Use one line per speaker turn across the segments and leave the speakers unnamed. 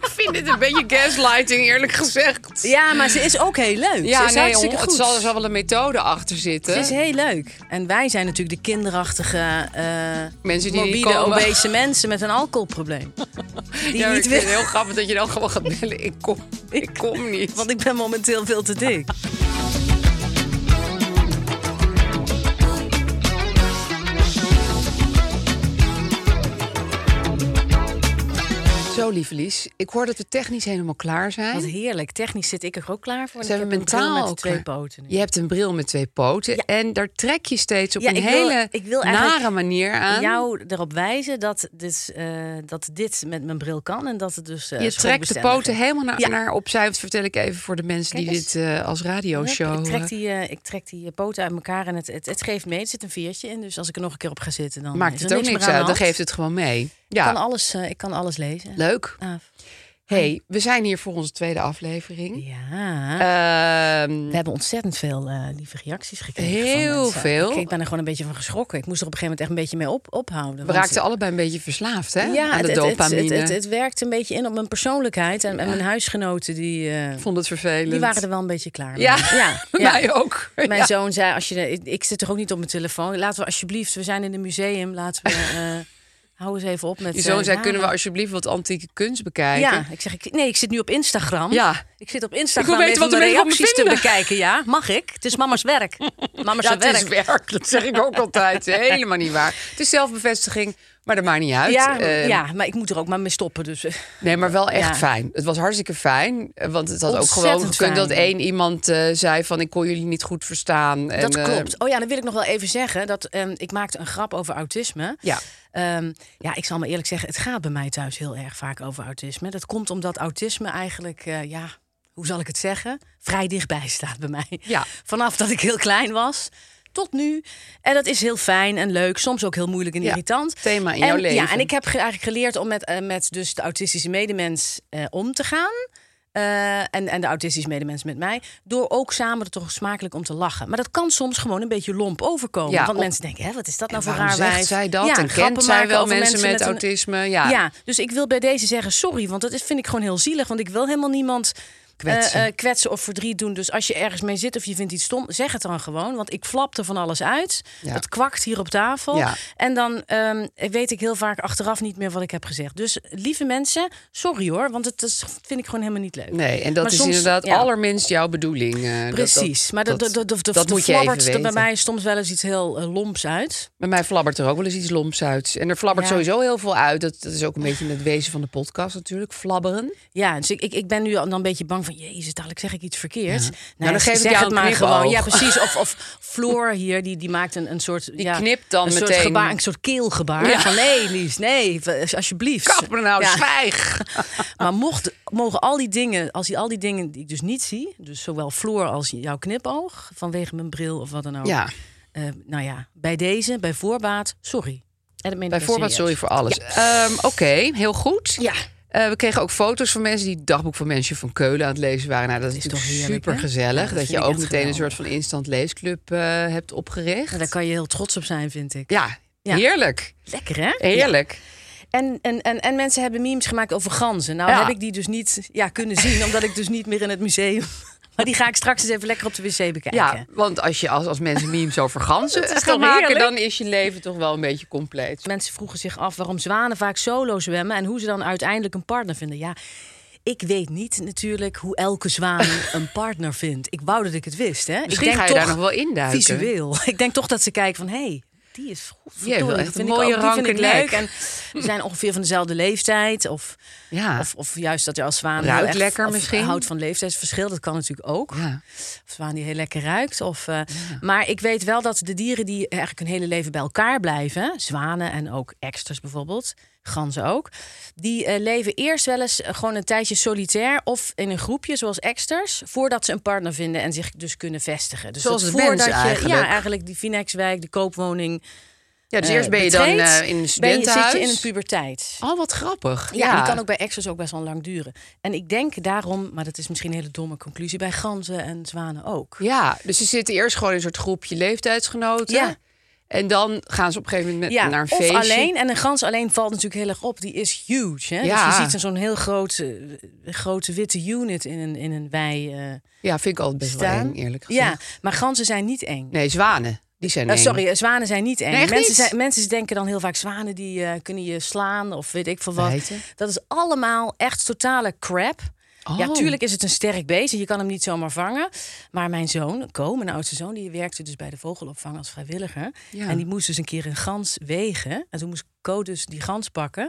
Ik vind dit een beetje gaslighting, eerlijk gezegd.
Ja, maar ze is ook heel leuk.
Ja,
ze is
nee,
hartstikke
hon-
goed.
het zal, er zal wel een methode achter
Ze
zitten.
is heel leuk. En wij zijn natuurlijk de kinderachtige, eh
Mensen die niet
morbide,
komen.
obese mensen met een alcoholprobleem. Die
Ja, maar
niet
ik vind het
willen,
heel grappig dat je dan gewoon gaat bellen. Ik kom, ik kom niet.
want ik ben momenteel veel te dik.
Zo, lieve Lies. Ik hoor dat we technisch helemaal klaar zijn.
Wat heerlijk. Technisch zit ik er ook klaar voor. en
Zijn
ik
we
heb een bril
mentaal
met
ook
twee
klaar?
poten. nu.
Je hebt een bril met twee poten. En daar trek je steeds op
Ja,
een
ik wil-
hele
ik wil eigenlijk
nare manier aan.
jou erop wijzen dat dit, eh, dat dit met mijn bril kan en dat het dus eh,
je trekt de
schoonbestendig
poten
is.
helemaal naar,
Ja.
naar opzij. Dat vertel ik even voor de mensen die
Kijk eens.
dit eh, als radioshow...
Hup, Ik
eh,
trek die, eh, ik trek die eh, poten uit elkaar en het, het, het geeft mee. Er zit een viertje in, dus als ik er nog een keer op ga zitten, dan
Maakt
is
het
er
ook
niks
niks
meer aan
uit.
de
Dan
hand.
geeft het gewoon mee. Ja,
Ik kan alles, eh, ik kan alles lezen.
leuk.
Af.
hey, we zijn hier voor onze tweede aflevering.
Ja.
Ehm,
we hebben ontzettend veel eh, lieve reacties gekregen.
Heel
van mensen.
veel.
Ik, ik ben er gewoon een beetje van geschrokken. Ik moest er op een gegeven moment echt een beetje mee op, ophouden.
we
want-
raakten allebei een beetje verslaafd, hè?
ja,
aan de
het, het, het,
dopamine.
het, het, het werkt een beetje in op mijn persoonlijkheid. En, en mijn huisgenoten, die, eh,
Ik vond het vervelend.
die waren er wel een beetje klaar mee.
Ja, Nou,
ja, ja.
mij ook.
Mijn
Ja.
zoon zei, als je, de- ik- ik zit toch ook niet op mijn telefoon. Laten we alsjeblieft, we zijn in een museum. Laten we, eh hou eens even op met...
Je zoon
eh,
zei,
ja,
kunnen we alsjeblieft wat antieke kunst bekijken?
Ja, ik zeg, ik, nee, ik zit nu op Instagram.
Ja.
Ik zit op
Ik wil
Instagram
weten
even
wat de
mijn
mensen van me
reacties te
vinden.
bekijken. Ja, mag ik? Het is mama's werk. Mama's
Ja, het
werk.
is werk. Dat zeg ik ook altijd. Helemaal niet waar. Het is zelfbevestiging, maar dat maakt niet uit.
Ja,
Eh,
ja, maar ik moet er ook maar mee stoppen. Dus. eh.
Nee, maar wel echt
Ja.
fijn. Het was hartstikke fijn. eh, Want het had ook gewoon
Ontzettend
gekund dat
fijn.
één iemand eh, zei van... ik kon jullie niet goed verstaan. En,
dat
eh,
klopt. Oh ja, dan wil ik nog wel even zeggen dat ehm, ik maakte een grap over autisme.
Ja.
Ehm, ja, ik zal maar eerlijk zeggen, het gaat bij mij thuis heel erg vaak over autisme. Dat komt omdat autisme eigenlijk, eh, ja, hoe zal ik het zeggen, vrij dichtbij staat bij mij.
Ja.
Vanaf dat ik heel klein was. Tot nu. En dat is heel fijn en leuk. Soms ook heel moeilijk en
Ja,
irritant.
thema in
en,
jouw leven.
Ja, en ik heb ge- eigenlijk geleerd om met, eh, met dus de autistische medemens eh, om te gaan. Eh, en, en de autistische medemens met mij. Door ook samen er toch smakelijk om te lachen. Maar dat kan soms gewoon een beetje lomp overkomen.
Ja,
want
op-
mensen denken, hè, wat is dat nou
En
voor
waarom
raar
zegt
wijf?
zij dat? En kent
grappen
zij
maken
wel
over
mensen met
een-
autisme? Ja.
dus ik wil bij deze zeggen sorry. Want dat is- vind ik gewoon heel zielig. Want ik wil helemaal niemand... eh,
Kwetsen.
eh, kwetsen of verdriet doen. Dus als je ergens mee zit of je vindt iets stom, zeg het dan gewoon. Want ik flap er van alles uit.
Ja.
Het kwakt hier op tafel.
Ja.
En dan ehm, weet ik heel vaak achteraf niet meer wat ik heb gezegd. Dus lieve mensen, sorry hoor, want het is, vind ik gewoon helemaal niet leuk.
Nee, en dat
Maar
is
soms-
inderdaad
ja.
allerminst jouw bedoeling. eh, dat-
Precies, maar dat, dat, dat, dat,
dat
de
moet je even
flabbert er
weten.
bij mij soms wel eens iets heel eh, lomps uit.
Bij mij flabbert er ook wel eens iets loms uit. En er flabbert
Ja.
sowieso heel veel uit. Dat, dat is ook een beetje het wezen van de podcast natuurlijk. Flabberen.
Ja, dus ik, ik, ik ben nu al dan een beetje bang van... jezus, dadelijk zeg ik iets verkeerd. Nou,
dan
ja,
geef ik
zeg
jou
het
een
maar
knipoog.
gewoon. Ja, precies. Of, of Floor hier, die, die maakt een, een soort...
Die
ja,
knipt dan
een Soort
meteen.
gebaar, een soort keelgebaar.
Ja.
Van nee, Lies, nee, v- alsjeblieft.
Kap me nou,
Ja.
zwijg!
Maar mocht, mogen al die dingen, als die, al die dingen die ik dus niet zie... dus zowel Floor als jouw knipoog, vanwege mijn bril of wat dan ook...
Ja,
eh, nou ja, bij deze, bij voorbaat, sorry. En dat meen ik
bij
wel
voorbaat
serieus.
sorry voor alles. Ehm, Oké, heel goed.
Ja.
Eh, we kregen ook foto's van mensen die het dagboek van mensen van Keulen aan het lezen waren. Nou, dat,
is
is natuurlijk
toch heerlijk, hè?
super gezellig.
Ja, dat
dat
vind
je
ik
ook
echt
meteen een soort
geweldig.
van instant leesclub eh, hebt opgericht.
En daar kan je heel trots op zijn, vind ik.
Ja,
Ja.
heerlijk.
Lekker, hè?
Heerlijk.
En, en, en, en mensen hebben memes gemaakt over ganzen. Nou
Ja.
heb ik die dus niet ja, kunnen zien, omdat ik dus niet meer in het museum Maar die ga ik straks eens even lekker op de wc bekijken.
Ja, want als, je, als, als mensen memes over ganzen
Dat is
gaan
toch
maken,
heerlijk?
dan is je leven toch wel een beetje compleet.
Mensen vroegen zich af waarom zwanen vaak solo zwemmen en hoe ze dan uiteindelijk een partner vinden. Ja, ik weet niet natuurlijk hoe elke zwaan een partner vindt. Ik wou dat ik het wist, hè?
Misschien
ik denk
ga je
toch
daar nog wel induiken.
Visueel. Ik denk toch dat ze kijken van, hé, hey, die is
Die heeft wel
verdorie,
echt
dat
een
vind ik
mooie
ook- die vind ik
ranke
leuk.
nek.
En we zijn ongeveer van dezelfde leeftijd of,
Ja.
of, of juist dat je als zwaan heel
Ruikt
erg-
lekker
of
misschien.
houdt van leeftijdsverschil. Dat kan natuurlijk ook.
Ja.
Of zwaan die heel lekker ruikt. Of, eh, Maar ik weet wel dat de dieren die eigenlijk hun hele leven bij elkaar blijven... zwanen en ook eksters bijvoorbeeld, ganzen ook... die eh, leven eerst wel eens eh, gewoon een tijdje solitair... of in een groepje, zoals eksters... voordat ze een partner vinden en zich dus kunnen vestigen. Dus
Zoals
dat
de mens
voordat je,
eigenlijk.
Ja, eigenlijk die Finexwijk, de koopwoning...
Ja, dus
eh,
eerst ben je dan
betreedt,
eh, in een
ben je-
studentenhuis.
zit je in een puberteit.
Oh, wat grappig.
Ja, die kan ook bij exes ook best wel lang duren. En ik denk daarom, maar dat is misschien een hele domme conclusie... bij ganzen en zwanen ook.
Ja, dus ze zitten eerst gewoon in een soort groepje leeftijdsgenoten.
Ja.
En dan gaan ze op een gegeven moment
Ja,
naar een
of
feestje.
alleen. En een gans alleen valt natuurlijk heel erg op. Die is huge. Hè?
Ja.
Dus je ziet er zo'n heel grote, grote witte unit in een, in een wei eh,
Ja, vind ik altijd best wel
staan.
eng, eerlijk gezegd.
ja, maar ganzen zijn niet eng.
Nee, zwanen. Die zijn
Eh,
eng.
sorry, eh, zwanen zijn niet eng.
Nee, echt
mensen,
niet?
Zijn, mensen denken dan heel vaak zwanen die eh, kunnen je slaan of weet ik veel wat.
Bijten.
Dat is allemaal echt totale crap. Ja,
Oh.
tuurlijk is het een sterk beest en je kan hem niet zomaar vangen. Maar mijn zoon, Ko, mijn oudste zoon, die werkte dus bij de vogelopvang als vrijwilliger.
Ja.
En die moest dus een keer een gans wegen. En toen moest Ko dus die gans pakken.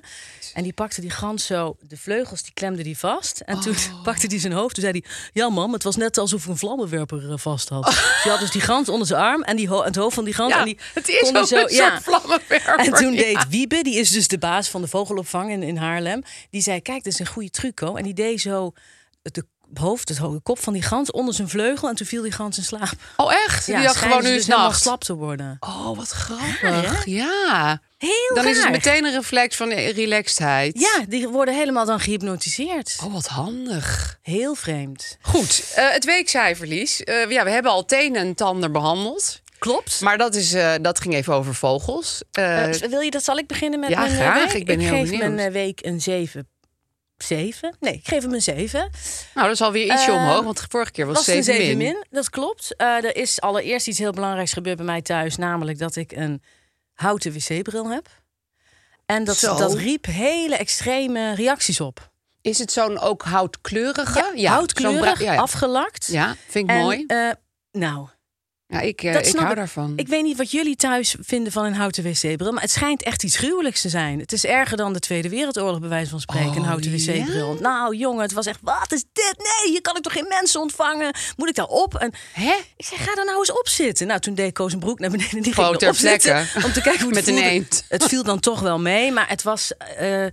En die pakte die gans zo, de vleugels, die klemde die vast. En toen
Oh.
pakte hij zijn hoofd. Toen zei hij, ja mam, het was net alsof ik een vlammenwerper eh, vast had. Dus je had dus die gans onder zijn arm en die ho- het hoofd van die gans.
Ja,
en die
het is
kon hij
ook een soort vlammenwerper,
En toen
ja.
deed Wiebe, die is dus de baas van de vogelopvang in, in Haarlem. Die zei, kijk, dit is een goede truco. En die deed zo het de hoofd, het ho- de kop van die gans onder zijn vleugel. En toen viel die gans in slaap.
Oh, echt? die had
schijnen
gewoon
ze
nu
dus
is
helemaal
nacht.
slap te worden.
Oh, wat grappig. Ja.
Heel
Dan is het
raar.
meteen een reflex van eh, relaxedheid.
Ja, die worden helemaal dan gehypnotiseerd.
Oh, wat handig.
Heel vreemd.
Goed, eh, het weekcijferlies. Eh, ja, we hebben al tenen en tanden behandeld.
Klopt.
Maar dat, is, eh, dat ging even over vogels. Eh,
Eh, wil je dat? Zal ik beginnen met
ja,
mijn eh,
graag.
week?
Ik ben heel
geef
benieuwd.
mijn eh, week een 7. 7? Nee, ik geef hem een 7.
nou, dat is alweer ietsje
eh,
omhoog, want vorige keer was,
Was het een
7
7 min. Dat klopt. Eh, er is allereerst iets heel belangrijks gebeurd bij mij thuis. Namelijk dat ik een houten wc-bril heb. En dat,
Zo.
dat riep hele extreme reacties op.
Is het zo'n ook houtkleurige? zo'n
Houtkleurig,
bra- ja, ja.
afgelakt.
Ja, vind ik
En,
mooi.
eh, nou,
Ja, ik eh,
dat
ik
snap
hou
ik.
daarvan.
Ik weet niet wat jullie thuis vinden van een houten wc-bril, maar het schijnt echt iets gruwelijks te zijn. Het is erger dan de Tweede Wereldoorlog, bij wijze van spreken, een
Oh,
houten
ja?
wc-bril. Nou, jongen, het was echt, wat is dit? Nee, hier kan ik toch geen mensen ontvangen? Moet ik daar op? En
Hè?
ik zei, ga daar nou eens op zitten. Nou, toen deed Koos een broek naar beneden en die
Gewoon
ging
ter
erop zitten.
plekke.
Om te kijken hoe het
Met een
voelde.
eend.
Het viel dan toch wel mee, maar het was... eh,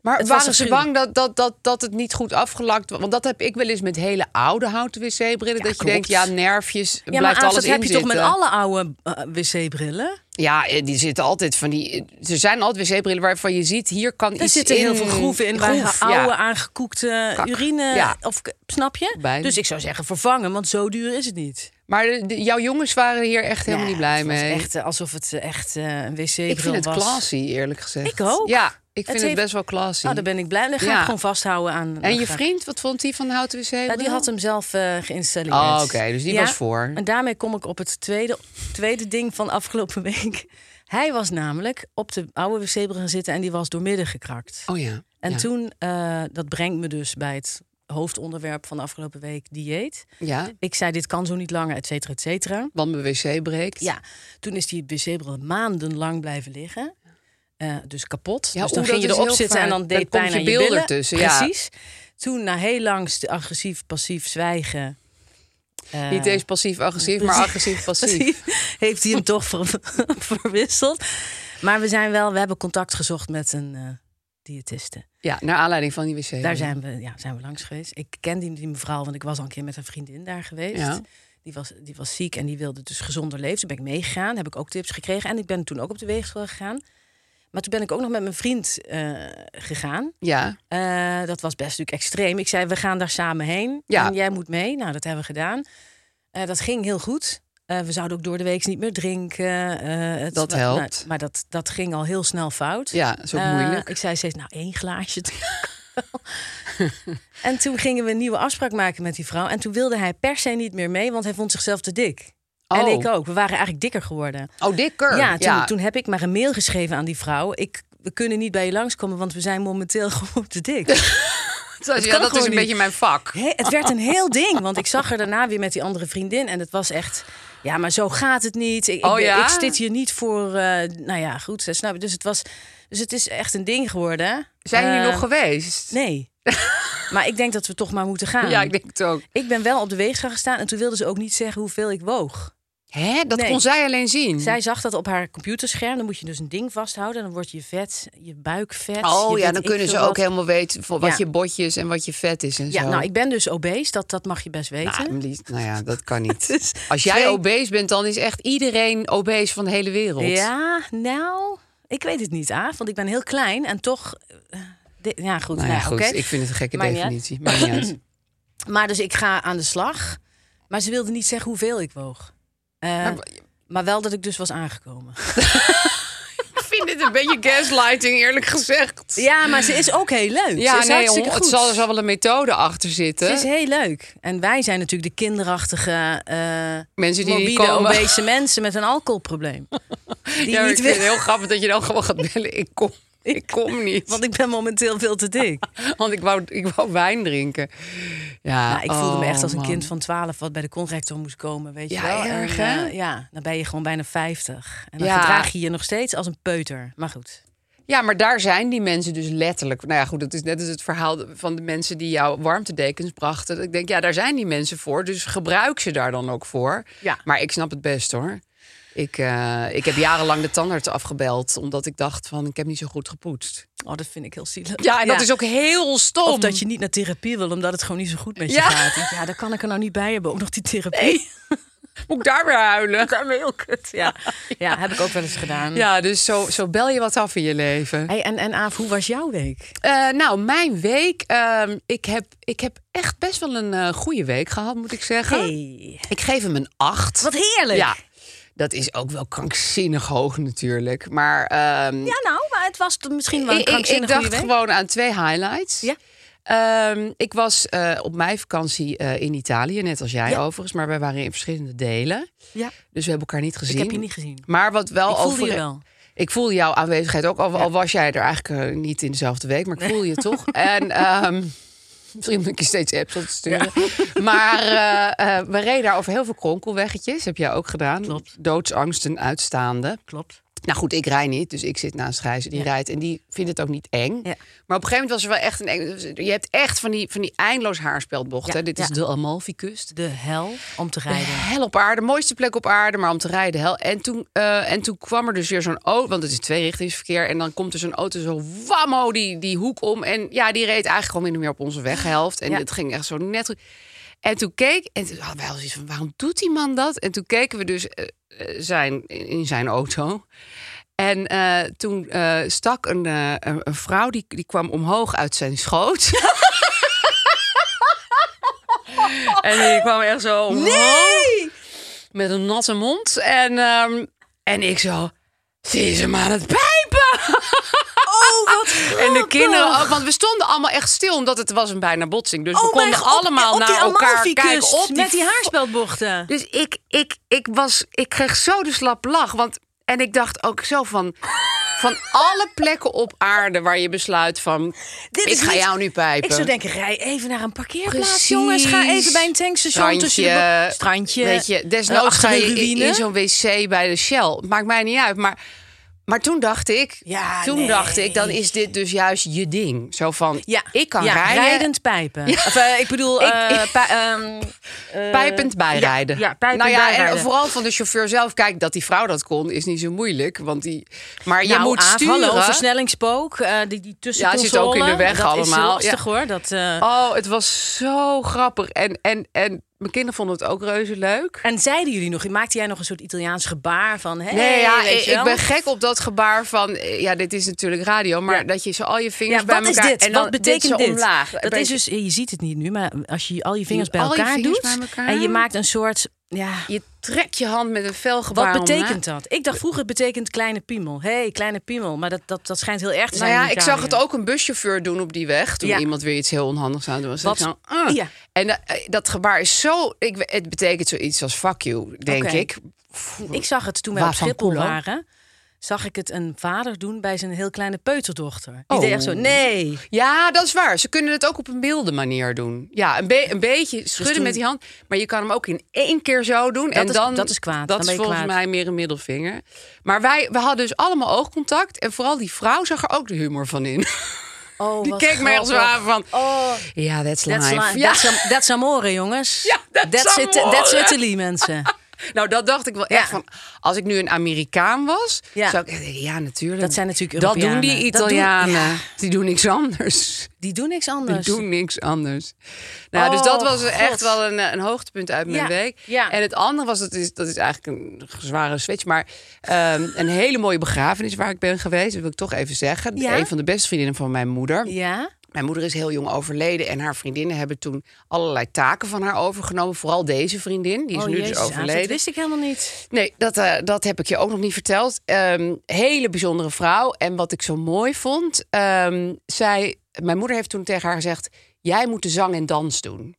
Maar
Het was
waren ze dus bang
afschuwelijk.
dat, dat, dat, dat het niet goed afgelakt was? Want dat heb ik wel eens met hele oude houten wc-brillen. dat je
klopt.
denkt, ja, nerfjes,
ja, maar
blijft
Aaf,
alles
dat
in
heb je toch met
zitten.
alle oude eh, wc-brillen?
Ja, eh, die zitten altijd van die... eh, Er zijn altijd wc-brillen waarvan je ziet, hier kan
Er
iets
zitten
in.
heel veel groeven in waar
Groef,
oude
ja.
aangekoekte
Kak.
urine.
Ja.
Of, k- snap je?
Bijna.
Dus ik zou zeggen vervangen, want zo duur is het niet.
Maar de- de- jouw jongens waren hier echt helemaal niet blij
het was
mee.
Echt, eh, alsof het eh, echt eh, een wc-bril was.
ik vind het classy, eerlijk gezegd.
Ik ook.
Ja, ik vind het,
heeft-
best wel classy.
Nou, daar ben ik blij. Dan ga
Ja.
ik gewoon vasthouden aan...
En je
aan-
vriend, wat vond hij van de houten wc-bril?
Ja, die had hem zelf eh, geïnstalleerd.
Oh, oké, dus die was voor.
En daarmee kom ik op het tweede, tweede ding van afgelopen week. Hij was namelijk op de oude wc gaan zitten en die was doormidden gekrakt.
Oh ja.
en
ja.
toen, eh, dat brengt me dus bij het hoofdonderwerp van de afgelopen week, dieet.
Ja,
Ik zei, dit kan zo niet langer, et cetera, et cetera.
want mijn wc breekt.
Ja, toen is die wc-bril maandenlang blijven liggen. Eh, dus kapot.
Ja,
dus dan
oeh, dat
ging je
is
erop
heel
zitten en
vaak.
dan
Dan
deed
komt
pijn
je
aan
beeld
je billen.
ertussen, ja.
Precies. Toen na heel lang st- agressief, passief zwijgen... eh,
Niet eens passief-agressief, maar agressief-passief.
passief, heeft hij hem toch ver- verwisseld. Maar we zijn wel, we hebben contact gezocht met een eh, diëtiste.
Ja, naar aanleiding van die wc.
Daar zijn we, ja, zijn we langs geweest. Ik ken die, die mevrouw, want ik was al een keer met een vriendin daar geweest.
Ja.
Die, was, die was ziek en die wilde dus gezonder leven. Toen ben ik meegegaan, heb ik ook tips gekregen. En ik ben toen ook op de weegschaal gegaan. Maar toen ben ik ook nog met mijn vriend eh, gegaan.
Ja,
Eh, dat was best natuurlijk extreem. Ik zei, we gaan daar samen heen.
Ja.
En jij moet mee. Nou, dat hebben we gedaan. Eh, dat ging heel goed. Eh, we zouden ook door de week niet meer drinken. eh, het-
Dat
nou,
helpt.
maar dat, dat ging al heel snel fout.
ja, dat is ook
Eh,
moeilijk.
Ik zei steeds, nou, één glaasje. drinken. en toen gingen we een nieuwe afspraak maken met die vrouw. En toen wilde hij per se niet meer mee, want hij vond zichzelf te dik. En
Oh.
ik ook. We waren eigenlijk dikker geworden.
Oh, dikker.
Ja, toen, toen heb ik maar een mail geschreven aan die vrouw. Ik, we kunnen niet bij je langskomen, want we zijn momenteel gewoon te dik.
Toen zei ze,
kan
ja, dat is
gewoon
een
niet.
beetje mijn vak.
Hé, het werd een heel ding, want ik zag haar daarna weer met die andere vriendin. En het was echt, ja, maar zo gaat het niet. Ik, ik
Oh
ben-
ja?
ik zit hier niet voor, eh, nou ja, goed, ze snap je. Dus het, was, dus het is echt een ding geworden.
Zijn jullie
Eh,
nog geweest?
Nee. maar ik denk dat we toch maar moeten gaan.
Ja, ik denk het ook.
Ik ben wel op de weegschaal gestaan en toen wilde ze ook niet zeggen hoeveel ik woog.
Hè, dat
Nee.
kon zij alleen zien.
Zij zag dat op haar computerscherm. Dan moet je dus een ding vasthouden. Dan wordt je vet, je buik vet. je
oh ja,
weet
dan
ik
kunnen
veel
ze ook
wat.
helemaal weten voor wat
Ja.
je botjes en wat je vet is en
Ja,
zo.
nou, ik ben dus obese. Dat, dat mag je best weten.
Nou, lief- nou ja, dat kan
is
niet. Als jij
twee-
obese bent, dan is echt iedereen obese van de hele wereld.
ja, nou, ik weet het niet, Aaf. Want ik ben heel klein en toch... eh, dit- ja, goed.
Nou ja,
nou,
goed.
oké.
Ik vind het een gekke
Maakt niet uit.
definitie. Maakt niet uit.
Maar dus ik ga aan de slag. Maar ze wilde niet zeggen hoeveel ik woog. Eh,
Nou,
maar, wel dat ik dus was aangekomen.
Ik vind dit een beetje gaslighting, eerlijk gezegd.
Ja, maar ze is ook heel leuk.
Ja,
ze is
nee,
hartstikke
hon- het
goed.
zal er zal wel een methode achter
Ze
zitten.
is heel leuk. En wij zijn natuurlijk de kinderachtige, eh
Mensen die niet
morbide,
komen.
obese mensen met een alcoholprobleem. Die
ja, maar ik vind
niet
het
willen-
heel grappig dat je dan gewoon gaat bellen. Ik kom, ik kom niet.
Want ik ben momenteel veel te dik.
Want ik wou, ik wou wijn drinken. Ja,
Nou, ik voelde me
oh,
echt als een
man.
kind van 12 wat bij de conrector moest komen, weet je
Ja,
wel.
erg,
en,
hè?
eh, ja, dan ben je gewoon bijna 50. En dan
Ja.
gedraag je je nog steeds als een peuter. Maar goed.
Ja, maar daar zijn die mensen dus letterlijk. Nou ja, goed, dat is net als het verhaal van de mensen die jou warmtedekens brachten. Ik denk, ja, daar zijn die mensen voor. Dus gebruik ze daar dan ook voor.
Ja.
Maar ik snap het best hoor. Ik, eh, ik heb jarenlang de tandarts afgebeld. Omdat ik dacht van, ik heb niet zo goed gepoetst.
Oh, dat vind ik heel zielig.
Ja, en dat is ook heel stom.
Of dat je niet naar therapie wil, omdat het gewoon niet zo goed met je
Ja.
gaat. Ik denk, Ja, daar kan ik er nou niet bij hebben. Ook nog die therapie.
Moet ik daar weer huilen? Dat is heel kut,
Ja. ja, heb ik ook wel eens gedaan.
Ja, dus zo, zo bel je wat af in je leven.
Hey, en, en Aaf, hoe was jouw week?
Eh, nou, mijn week. ehm, ik, heb, ik heb echt best wel een eh, goede week gehad, moet ik zeggen.
Hey.
Ik geef hem een 8.
Wat heerlijk.
Ja, dat is ook wel krankzinnig hoog natuurlijk. Maar ehm,
Ja, nou, maar het was t- misschien wel een
ik, ik- ik
krankzinnige
dacht
goede week.
gewoon aan twee highlights.
Ja.
Ehm, ik was eh, op mijn vakantie eh, in Italië, net als jij
Ja.
overigens. Maar wij waren in verschillende delen.
Ja.
Dus we hebben elkaar niet gezien.
heb je niet gezien.
Maar wat wel
Ik voelde
over...
je wel.
Ik voelde jouw aanwezigheid ook, al, al was jij er eigenlijk eh, niet in dezelfde week, maar ik voelde je toch. En ehm, misschien moet ik je steeds apps op sturen. Maar eh, eh, we reden daar over heel veel kronkelweggetjes, heb jij ook gedaan.
Klopt.
Doodsangsten uitstaande.
Klopt.
Nou goed, ik rij niet, dus ik zit naast Gijs. Die rijdt en die vindt het ook niet eng. Maar op een gegeven moment was er wel echt een eng... Je hebt echt van die, van die eindeloos haarspeldbochten.
Ja,
Dit is
ja.
de Amalfi-kust.
De hel om te
De
rijden.
hel op aarde, mooiste plek op aarde, maar om te rijden hel. En toen, eh, en toen kwam er dus weer zo'n auto, want het is tweerichtingsverkeer. En dan komt er zo'n auto zo wammo die, die hoek om. En ja, die reed eigenlijk gewoon min of meer op onze weghelft. En
Ja.
het ging echt zo net goed. En toen keek, en toen hadden wij al zoiets van, waarom doet die man dat? En toen keken we dus eh, eh, zijn, in in zijn auto. En eh, toen eh, stak een, eh, een, een vrouw, die, die kwam omhoog uit zijn schoot. en die kwam echt zo omhoog. Met een natte mond. En, ehm, en ik zo, zie ze maar aan het pijpen?
Oh, wat
En de kinderen ook, want we stonden allemaal echt stil, omdat het was een bijna botsing. Dus
Oh,
we konden allemaal naar elkaar kijken op die
Met die haarspeldbochten.
dus ik, ik, ik, was, ik kreeg zo de slap lach. Want, en ik dacht ook zo van... Van alle plekken op aarde waar je besluit van... ik ga jou nu pijpen.
Ik zou denken, rij even naar een parkeerplaats,
Precies.
jongens. Ga even bij een tankstation tussen de bo- strandje.
Weet je, desnoods
achter
ga
de
je in,
ruïne.
in zo'n wc bij de Shell. Maakt mij niet uit. Maar, maar toen dacht ik...
Ja,
toen
nee.
dacht ik, dan is dit dus juist je ding. Zo van,
Ja,
ik kan
ja,
rijden,
rijdend pijpen. Of, eh, ik bedoel,
Ik-
eh,
ik-
pa- ehm,
pijpend bijrijden.
ja, ja, pijpend
nou eh, ja, En
bijrijden.
vooral van de chauffeur zelf. Kijk, dat die vrouw dat kon, is niet zo moeilijk. Want die, maar je
nou,
moet
Aaf,
sturen.
Hallo, versnellingspook, eh, die, die
Ja,
tussencontrole.
zit ook in de weg
dat
allemaal.
is heel lastig
Ja.
hoor. Dat, eh,
Oh, het was zo grappig. En, en, en mijn kinderen vonden het ook reuze leuk.
En zeiden jullie nog, maakte jij nog een soort Italiaans gebaar van... Hey,
Nee, ja,
weet
ik,
je wel?
ik ben gek op dat gebaar van... eh, Ja, dit is natuurlijk radio, maar dat je zo al je vingers
Ja,
bij
wat is
elkaar...
dit?
En dan
wat betekent
zo
dit? dus-
omlaag.
Dat is dus, je ziet het niet nu, maar als je al je vingers bij
moet al je
elkaar
vingers
doet
bij elkaar.
en je maakt een soort Ja.
Je trekt je hand met een fel gebaar
Wat
om,
betekent
hè?
dat? Ik dacht vroeger het betekent kleine piemel. Hé, hey, kleine piemel. Maar dat, dat, dat schijnt heel erg te
Nou
zijn.
ja,
in
ik zag het
Italië.
ook een buschauffeur doen op die weg. Toen
Ja.
iemand weer iets heel onhandigs aan het doen was.
Wat-
Ik zo, "Ah."
Ja.
En dat, eh, dat gebaar is zo... Ik, we- het betekent zoiets als fuck you, denk
Oké.
ik.
Ik zag het toen wij op
Waarvan
Schiphol
Koelo?
waren. Zag ik het een vader doen bij zijn heel kleine peuterdochter. Die
Oh.
deed echt zo, nee.
Ja, dat is waar. Ze kunnen het ook op een milde manier doen. Ja, een, be- een beetje schudden
Dus toen-
met die hand. Maar je kan hem ook in één keer zo doen. en
is-
dan,
dat is
Dat
kwaad. Dan
is
ben je
volgens
kwaad.
mij meer een middelvinger. Maar wij we hadden dus allemaal oogcontact. En vooral die vrouw zag er ook de humor van in.
Oh,
die
wat
keek mij als
grappig.
waar van...
Oh,
Ja, that's life.
that's, li-
ja.
that's, am- that's amore, jongens.
Ja, that's
it,
amore.
that's Italy, mensen.
Nou, dat dacht ik wel echt
Ja.
van. Als ik nu een Amerikaan was,
Ja.
zou ik echt denken, ja, natuurlijk.
Dat zijn natuurlijk
Dat doen
Europeanen.
die
Dat doen-
Italianen.
ja.
Die doen niks anders.
Die doen niks
Die
anders.
doen niks anders. Nou, dus
Oh,
dat was
God.
echt wel een, eh, een hoogtepunt uit mijn
Ja,
week.
ja.
En het andere was, dat is, dat is eigenlijk een zware switch, maar ehm, een hele mooie begrafenis waar ik ben geweest. Dat wil ik toch even zeggen.
Ja?
Een van de beste vriendinnen van mijn moeder.
Ja?
Mijn moeder is heel jong overleden en haar vriendinnen hebben toen allerlei taken van haar overgenomen. Vooral deze vriendin, die is
oh,
nu
jezus,
dus
Aaf, dat
overleden.
wist ik helemaal niet.
Nee, dat, eh, dat heb ik je ook nog niet verteld. Ehm, hele bijzondere vrouw. En wat ik zo mooi vond, ehm, zij, mijn moeder heeft toen tegen haar gezegd: Jij moet de zang en dans doen.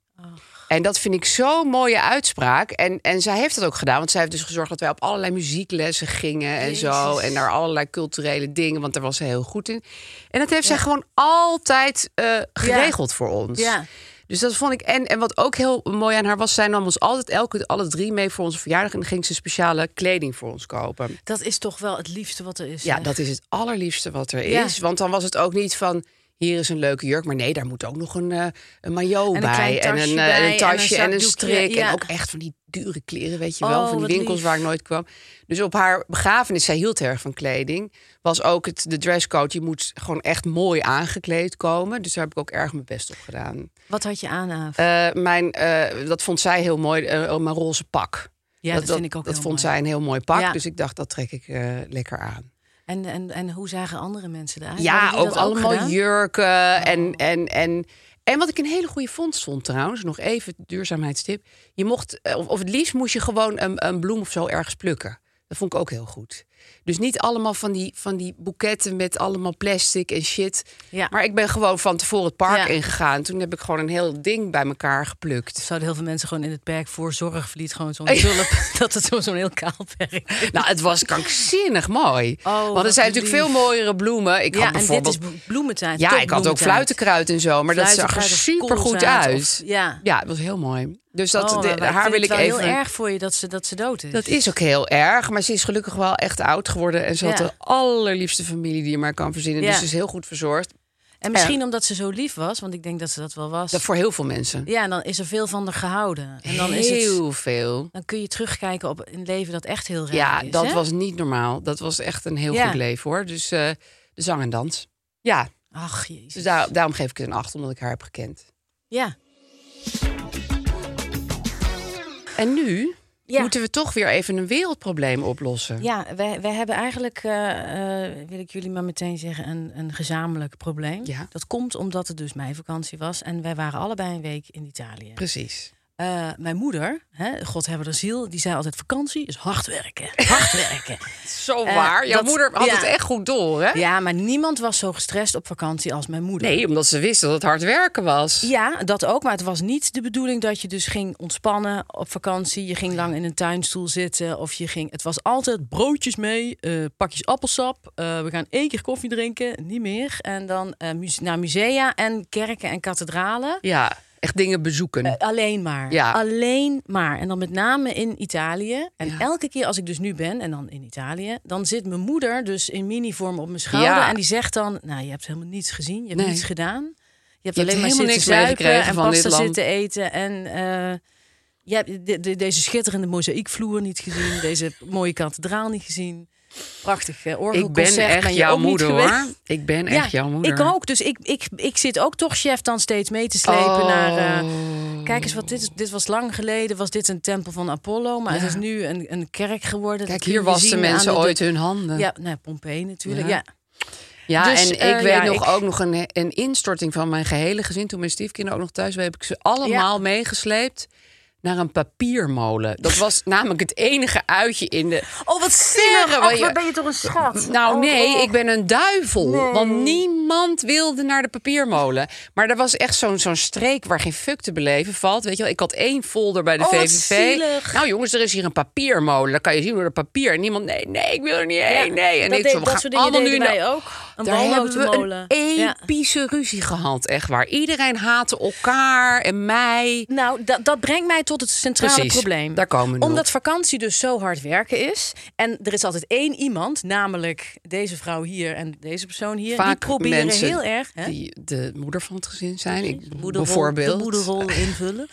En dat vind ik zo'n mooie uitspraak. En, en zij heeft dat ook gedaan. Want zij heeft dus gezorgd dat wij op allerlei muzieklessen gingen en zo. En naar allerlei culturele dingen. Want daar was ze heel goed in. En dat heeft zij gewoon altijd eh, geregeld voor ons.
Ja.
Dus dat vond ik. En, en wat ook heel mooi aan haar was, zij nam ons altijd elke alle drie mee voor onze verjaardag. En dan ging ze speciale kleding voor ons kopen.
Dat is toch wel het liefste wat er is.
Ja,
hè?
dat is het allerliefste wat er
eh, Ja.
is. Want dan was het ook niet van. Hier is een leuke jurk, maar nee, daar moet ook nog een, eh, een maillot
En een
bij.
klein tasje
eh,
bij en een
tasje en een,
zakdoekje,
strik.
ja.
En ook echt van die dure kleren, weet je
Oh,
wel. Van die
wat
winkels
lief.
waar ik nooit kwam. Dus op haar begrafenis, zij hield erg van kleding. Was ook het, de dresscode, je moet gewoon echt mooi aangekleed komen. Dus daar heb ik ook erg mijn best op gedaan.
Wat had je aan, Aaf?
Eh, mijn, eh, dat vond zij heel mooi, eh, mijn roze pak.
ja, dat, vind ik ook
Dat
heel
vond
mooi.
zij een heel mooi pak,
Ja.
dus ik dacht, dat trek ik eh, lekker aan.
En, en, en hoe zagen andere mensen eruit? Ah, Hadden
Ja,
die
ook
dat
allemaal
gedaan? Oh.
jurken en, en, en... En wat ik een hele goede vondst vond trouwens, nog even duurzaamheidstip. Je mocht, eh, of, of het liefst moest je gewoon een, een bloem of zo ergens plukken. Dat vond ik ook heel goed. Dus niet allemaal van die, van die boeketten met allemaal plastic en shit.
Ja.
Maar ik ben gewoon van tevoren het park
Ja.
ingegaan. Toen heb ik gewoon een heel ding bij elkaar geplukt.
Zouden heel veel mensen gewoon in het perk voor zorg verliet gewoon zo'n tulp. dat het zo- zo'n heel kaal perk is.
Nou, het was krankzinnig mooi. Want er
Oh, wat
zijn natuurlijk
lief.
veel mooiere bloemen. Ik
Ja,
had
en dit
bijvoorbeeld...
is blo- bloementijd.
ja,
top
ik had ook
bloementijd.
fluitenkruid en zo. Maar dat zag er
Fluitenkruid of
super goed
koolzaad
uit.
of- ja.
ja, het was heel mooi. Dus dat,
Oh,
de-
maar- maar
haar
vind
wil ik
het wel
even...
heel erg voor je dat ze, dat ze dood is.
Dat is ook heel erg. Maar ze is gelukkig wel echt oud geworden. En ze had
Ja.
de allerliefste familie die je maar kan verzinnen.
Ja.
Dus ze is heel goed verzorgd.
en misschien omdat ze zo lief was, want ik denk dat ze dat wel was.
Dat voor heel veel mensen.
Ja, en dan is er veel van haar gehouden. En dan, is het,
heel veel.
dan kun je terugkijken op een leven dat echt heel raar
Ja,
is.
dat
hè?
was niet normaal. Dat was echt een heel
Ja.
goed leven hoor. Dus eh, de zang en dans. Ja,
Ach, jezus.
dus daar- daarom geef ik het een acht, omdat ik haar heb gekend.
Ja.
En nu
Ja.
moeten we toch weer even een wereldprobleem oplossen.
Ja, wij, wij hebben eigenlijk, eh, eh, wil ik jullie maar meteen zeggen, een, een gezamenlijk probleem.
Ja.
Dat komt omdat het dus mijn vakantie was en wij waren allebei een week in Italië.
Precies.
Eh, mijn moeder, hè, God hebben haar ziel, die zei altijd: vakantie is hard werken. Hard werken.
Zo
Eh,
waar. Jouw
dat-
moeder had
ja.
het echt goed door, hè?
ja, maar niemand was zo gestrest op vakantie als mijn moeder.
Nee, omdat ze wist dat het hard werken was.
Ja, dat ook. Maar het was niet de bedoeling dat je dus ging ontspannen op vakantie. Je ging lang in een tuinstoel zitten. Of je ging. Het was altijd broodjes mee, eh, pakjes appelsap. eh, we gaan één keer koffie drinken, niet meer. En dan eh, muse- naar musea en kerken en kathedralen.
Ja, echt dingen bezoeken.
Eh, Alleen maar.
Ja.
Alleen maar. En dan met name in Italië. En elke keer als ik dus nu ben, en dan in Italië, dan zit mijn moeder dus in mini-vorm op mijn schouder.
Ja.
En die zegt dan: Nou, je hebt helemaal niets gezien, je hebt
Nee.
niets gedaan. Je hebt
Je hebt
alleen maar
helemaal
zitten
niks meegekregen
zuipen en
van dit
pasta
land."
zitten eten. En eh, je hebt de- de- deze schitterende mozaïekvloer niet gezien, deze mooie kathedraal niet gezien. Prachtig eh,
ik ben
orgelconcert.
echt
ben je
jouw
ook niet
moeder,
geweest.
hoor. Ik ben echt jouw moeder.
Ik ook. Dus ik, ik, ik zit ook toch chef dan steeds mee te slepen
Oh.
naar... eh, kijk eens, wat dit, is. dit was lang geleden. Was dit een tempel van Apollo. Maar het is nu een, een kerk geworden.
Kijk,
Dat kun
hier
je
wassen
zien aan
mensen
de-
ooit hun handen.
Ja, nee, Pompeii natuurlijk.
Ja.
Ja.
Ja,
Dus,
en ik
eh,
weet
ja,
nog
ik-
ook nog een, een instorting van mijn gehele gezin. Toen mijn stiefkinderen ook nog thuis waren, heb ik ze allemaal meegesleept naar een papiermolen. Dat was namelijk het enige uitje in de.
Oh, wat
Verre,
zinnig.
wat
Oh,
je-
wat ben je toch een schat.
Nou
Oh,
nee,
oh.
ik ben een duivel. Want niemand wilde naar de papiermolen. Maar er was echt zo'n zo'n streek waar geen fuck te beleven valt. Weet je wel, ik had één folder bij de
Oh, wat
VVV.
zielig.
Nou jongens, er is hier een papiermolen. Dan kan je zien door de papier. En niemand, nee, nee, ik wil er niet heen. nee. En
dat
ik
deed-
zo, we
dat
gaan
soort dingen
allemaal nu
deden
naar-
wij ook. Een
Daar hebben we
walnotenmolen.
een
Ja.
epische ruzie gehad, echt waar. Iedereen haatte elkaar en mij.
Nou, dat, dat brengt mij tot het centrale
Precies,
probleem.
daar komen we nu
Omdat
op.
vakantie dus zo hard werken is. En er is altijd één iemand, namelijk deze vrouw hier en deze persoon hier. die
Vaak
proberen
mensen
heel erg hè,
die de moeder van het gezin zijn. Ik,
moederrol-
bijvoorbeeld.
de moederrol invullen.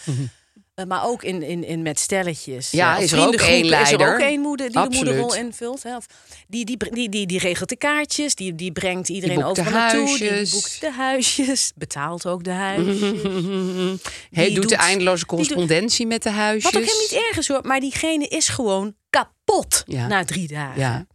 Eh, maar ook in, in, in met stelletjes.
Ja,
eh, of
is er ook één
vriendengroepen Is er ook
leider.
één moeder die
Absoluut.
de moederrol invult. Hè? Of die, die, die, die, die regelt de kaartjes, die, die brengt iedereen
boekt de
overal naartoe. Die,
huisjes.
die boekt de huisjes, betaalt ook de huisjes.
Hij
Die
doet, de
doet-
eindeloze
die doet-
correspondentie met de huisjes.
Wat ook helemaal niet erg is hoor, maar diegene is gewoon kapot
Ja.
na drie dagen.
Ja.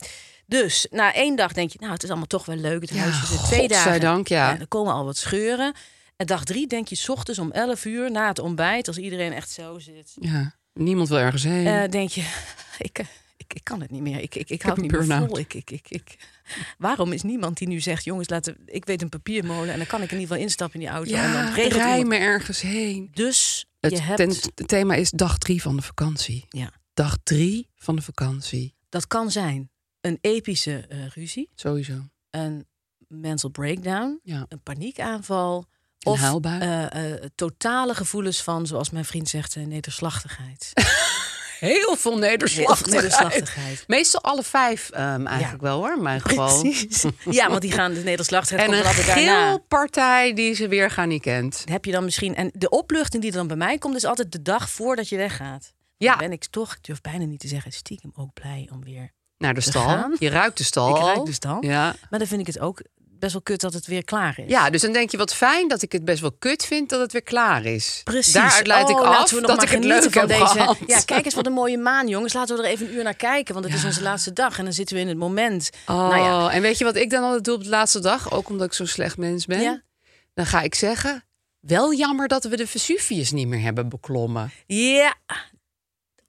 Dus na één dag denk je, nou het is allemaal toch wel leuk. Het
Ja,
huisje is er twee dagen.
godzijdank, ja.
Er komen al wat scheuren. En dag drie denk je, 's ochtends om 11 uur na het ontbijt, als iedereen echt zo zit,
Ja. Niemand wil ergens heen.
eh, denk je, ik, eh, ik, ik kan het niet meer. Ik, ik, ik hou
Mm. heb
het
een
niet meer vol.
burn-out.
Ik, ik, ik, ik. Waarom is niemand die nu zegt, jongens, laten, we- ik weet een papiermolen en dan kan ik in ieder geval instappen in die auto en dan
ja,
regelt
rij
iemand.
me ergens heen.
Dus
Het,
je hebt,
ten- het thema is dag drie van de vakantie.
ja,
Dag drie van de vakantie.
dat kan zijn een epische eh, ruzie.
Sowieso.
een mental breakdown,
Ja.
een paniekaanval.
Een
of
huilbui.
eh, eh, totale gevoelens van, zoals mijn vriend zegt, eh, neerslachtigheid.
Heel veel nederslachtigheid.
Nederslachtigheid.
Meestal alle vijf ehm, eigenlijk wel hoor. Maar gewoon.
Precies. Ja, want die gaan de nederslachtigheid
En
komt
een
er altijd daarna.
geelpartij die ze weer gaan niet kent.
Heb je dan misschien en de opluchting die er dan bij mij komt is altijd de dag voordat je weggaat.
Ja.
Dan ben ik toch, ik durf bijna niet te zeggen, stiekem ook blij om weer.
Naar de
We
stal.
gaan.
Je ruikt de stal.
Ik
al.
ruik dus dan.
Ja.
Maar dan vind ik het ook best wel kut dat het weer klaar is.
Ja, dus dan denk je wat fijn dat ik het best wel kut vind dat het weer klaar is.
Precies.
Daaruit leid ik
Oh,
af
laten we nog
dat
maar
ik het
genieten
leuk
van
heb
deze.
gehad.
Ja, kijk eens wat een mooie maan, jongens. Laten we er even een uur naar kijken, want het is onze laatste dag en dan zitten we in het moment.
Oh,
Nou ja,
en weet je wat ik dan altijd doe op de laatste dag? Ook omdat ik zo'n slecht mens ben.
Ja.
Dan ga ik zeggen, wel jammer dat we de Vesuvius niet meer hebben beklommen.
ja.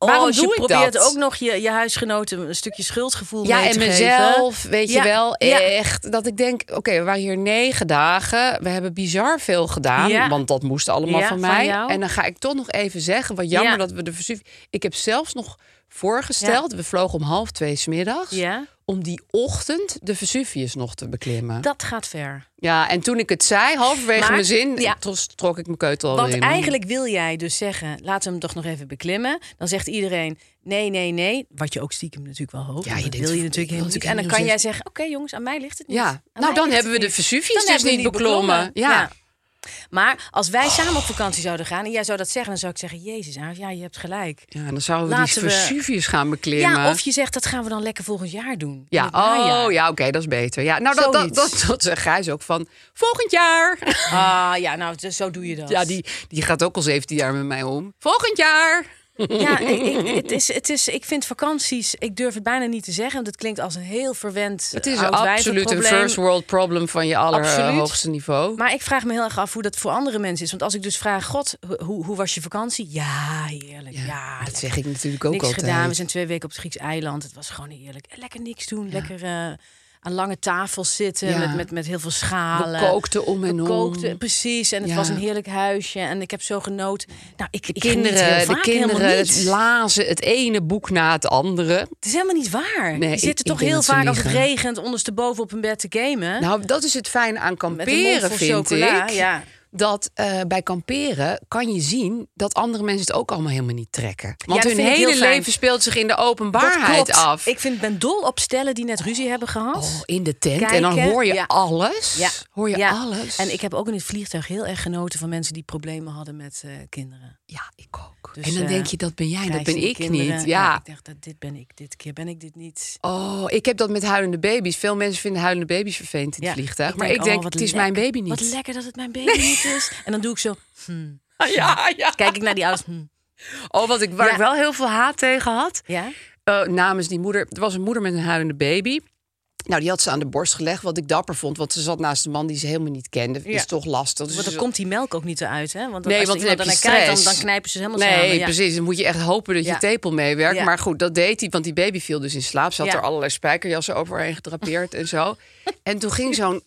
Oh,
Waarom
dus
doe
je
ik
probeert
dat?
ook nog je, je huisgenoten een stukje schuldgevoel
Ja,
mee te
en
geven.
mezelf, weet
Ja,
je wel, eh.
ja.
echt. Dat ik denk, oké, we waren hier negen dagen. We hebben bizar veel gedaan,
Ja.
want dat moest allemaal
Ja,
van
van
mij.
jou.
en dan ga ik toch nog even zeggen, wat jammer
Ja.
dat we de Vesuvius... Ik heb zelfs nog voorgesteld, we vlogen om half twee smiddags...
Ja.
om die ochtend de Vesuvius nog te beklimmen.
Dat gaat ver.
Ja, en toen ik het zei, halverwege
Maar-
mijn zin,
ja.
tros- trok ik mijn keutel al
Want
in.
eigenlijk wil jij dus zeggen, laten we hem toch nog even beklimmen. Dan zegt iedereen, nee, nee, nee. Wat je ook stiekem natuurlijk wel hoopt.
Ja,
want
je
dat
denkt,
wil je
ik
natuurlijk
wil
helemaal niet. En
natuurlijk
dan kan
helemaal
jij zeggen, oké jongens, aan mij ligt het niet.
Ja.
Aan
Nou,
mij
dan
ligt
hebben
het
we de
niet.
Vesuvius
Dan
dus
hebben we
niet beklommen. Ja.
Maar als wij samen op vakantie zouden gaan en jij zou dat zeggen... dan zou ik zeggen, jezus, Aaf, ja, je hebt gelijk.
Ja, dan zouden we
Laten
die
we-
Vesuvius gaan beklimmen.
Ja, of je zegt, dat gaan we dan lekker volgend jaar doen. In
Ja,
het najaar.
oh ja, oké, dat is beter. Ja, nou, dat, dat,
Zoiets.
dat, dat zegt Gijs ook van volgend jaar.
Ah, ja, nou, dus zo doe je dat.
Ja, die, die gaat ook al 17 jaar met mij om. Volgend jaar.
Ja, ik, ik- het is, het is, ik vind vakanties, ik durf het bijna niet te zeggen, want het klinkt als een heel verwend.
Het is
eh, oud
absoluut een
wijvenprobleem.
first world problem van je allerhoogste niveau.
Maar ik vraag me heel erg af hoe dat voor andere mensen is. Want als ik dus vraag, god, ho- hoe, hoe was je vakantie? Ja, heerlijk. Ja,
dat
lekker.
zeg ik natuurlijk ook
niks
altijd.
gedaan. We zijn twee weken op het Grieks eiland. Het was gewoon heerlijk. Lekker niks doen. Lekker eh, aan lange tafels zitten
Ja.
met, met, met heel veel schalen.
We kookten om en
We
om.
kookten, precies. En het
Ja.
was een heerlijk huisje. En ik heb zo genoten. Nou, ik, ik geniet heel
kinderen, de
vaak helemaal
kinderen
niet.
het lazen het ene boek na het andere.
Het is helemaal niet waar.
Nee,
Die
ik-
zitten
ik
toch
denk
heel
dat ze
vaak als het
liegen.
regent ondersteboven op hun bed te gamen.
Nou, dat is het fijne aan
met een mond
kamperen,
vol
vind
chocola.
ik.
Ja.
Dat eh, bij kamperen kan je zien dat andere mensen het ook allemaal helemaal niet trekken. Want
dat
hun
vind ik
hele
heel fijn.
leven speelt zich in de
Dat
openbaarheid
klopt.
af.
Ik vind, ben dol op stellen die net ruzie hebben gehad.
Oh, in de tent.
Kijken.
En dan hoor je
Ja.
alles.
Ja.
Hoor je
Ja.
alles.
En ik heb ook in het vliegtuig heel erg genoten van mensen die problemen hadden met eh, kinderen.
Ja, ik ook.
Dus,
en dan
eh,
denk je, dat ben jij, dat
Krijs en
ben
die
ik
kinderen.
niet.
Ja,
Ja.
ik dacht, dat dit ben ik. Dit keer ben ik dit niet.
Oh, ik heb dat met huilende baby's. Veel mensen vinden huilende baby's vervelend in het
Ja,
vliegtuig. maar ik
oh,
denk,
wat
het is
lekker-
mijn baby niet.
Wat lekker dat het mijn baby niet is. En dan doe ik zo, hmm.
Ah, Ja, ja.
kijk ik naar die ouders. hmm.
Oh, wat ik, waar
Ja.
ik wel heel veel haat tegen had.
Ja?
eh, namens die moeder. Er was een moeder met een huilende baby. Nou, die had ze aan de borst gelegd, wat ik dapper vond. Want ze zat naast een man die ze helemaal niet kende. Is
Ja.
toch lastig. Dus
Want dan
ze-
komt die melk ook niet eruit, hè? Want
Nee,
als
want
er
dan
iemand
heb je
ernaar kijkt, dan,
stress.
dan knijpen ze helemaal
Nee,
samen. Ja.
precies. Dan moet je echt hopen dat je
Ja.
tepel meewerkt.
Ja.
Maar goed, dat deed hij, want die baby viel dus in slaap. Ze had
Ja.
er allerlei spijkerjassen overheen gedrapeerd en zo. En toen ging zo'n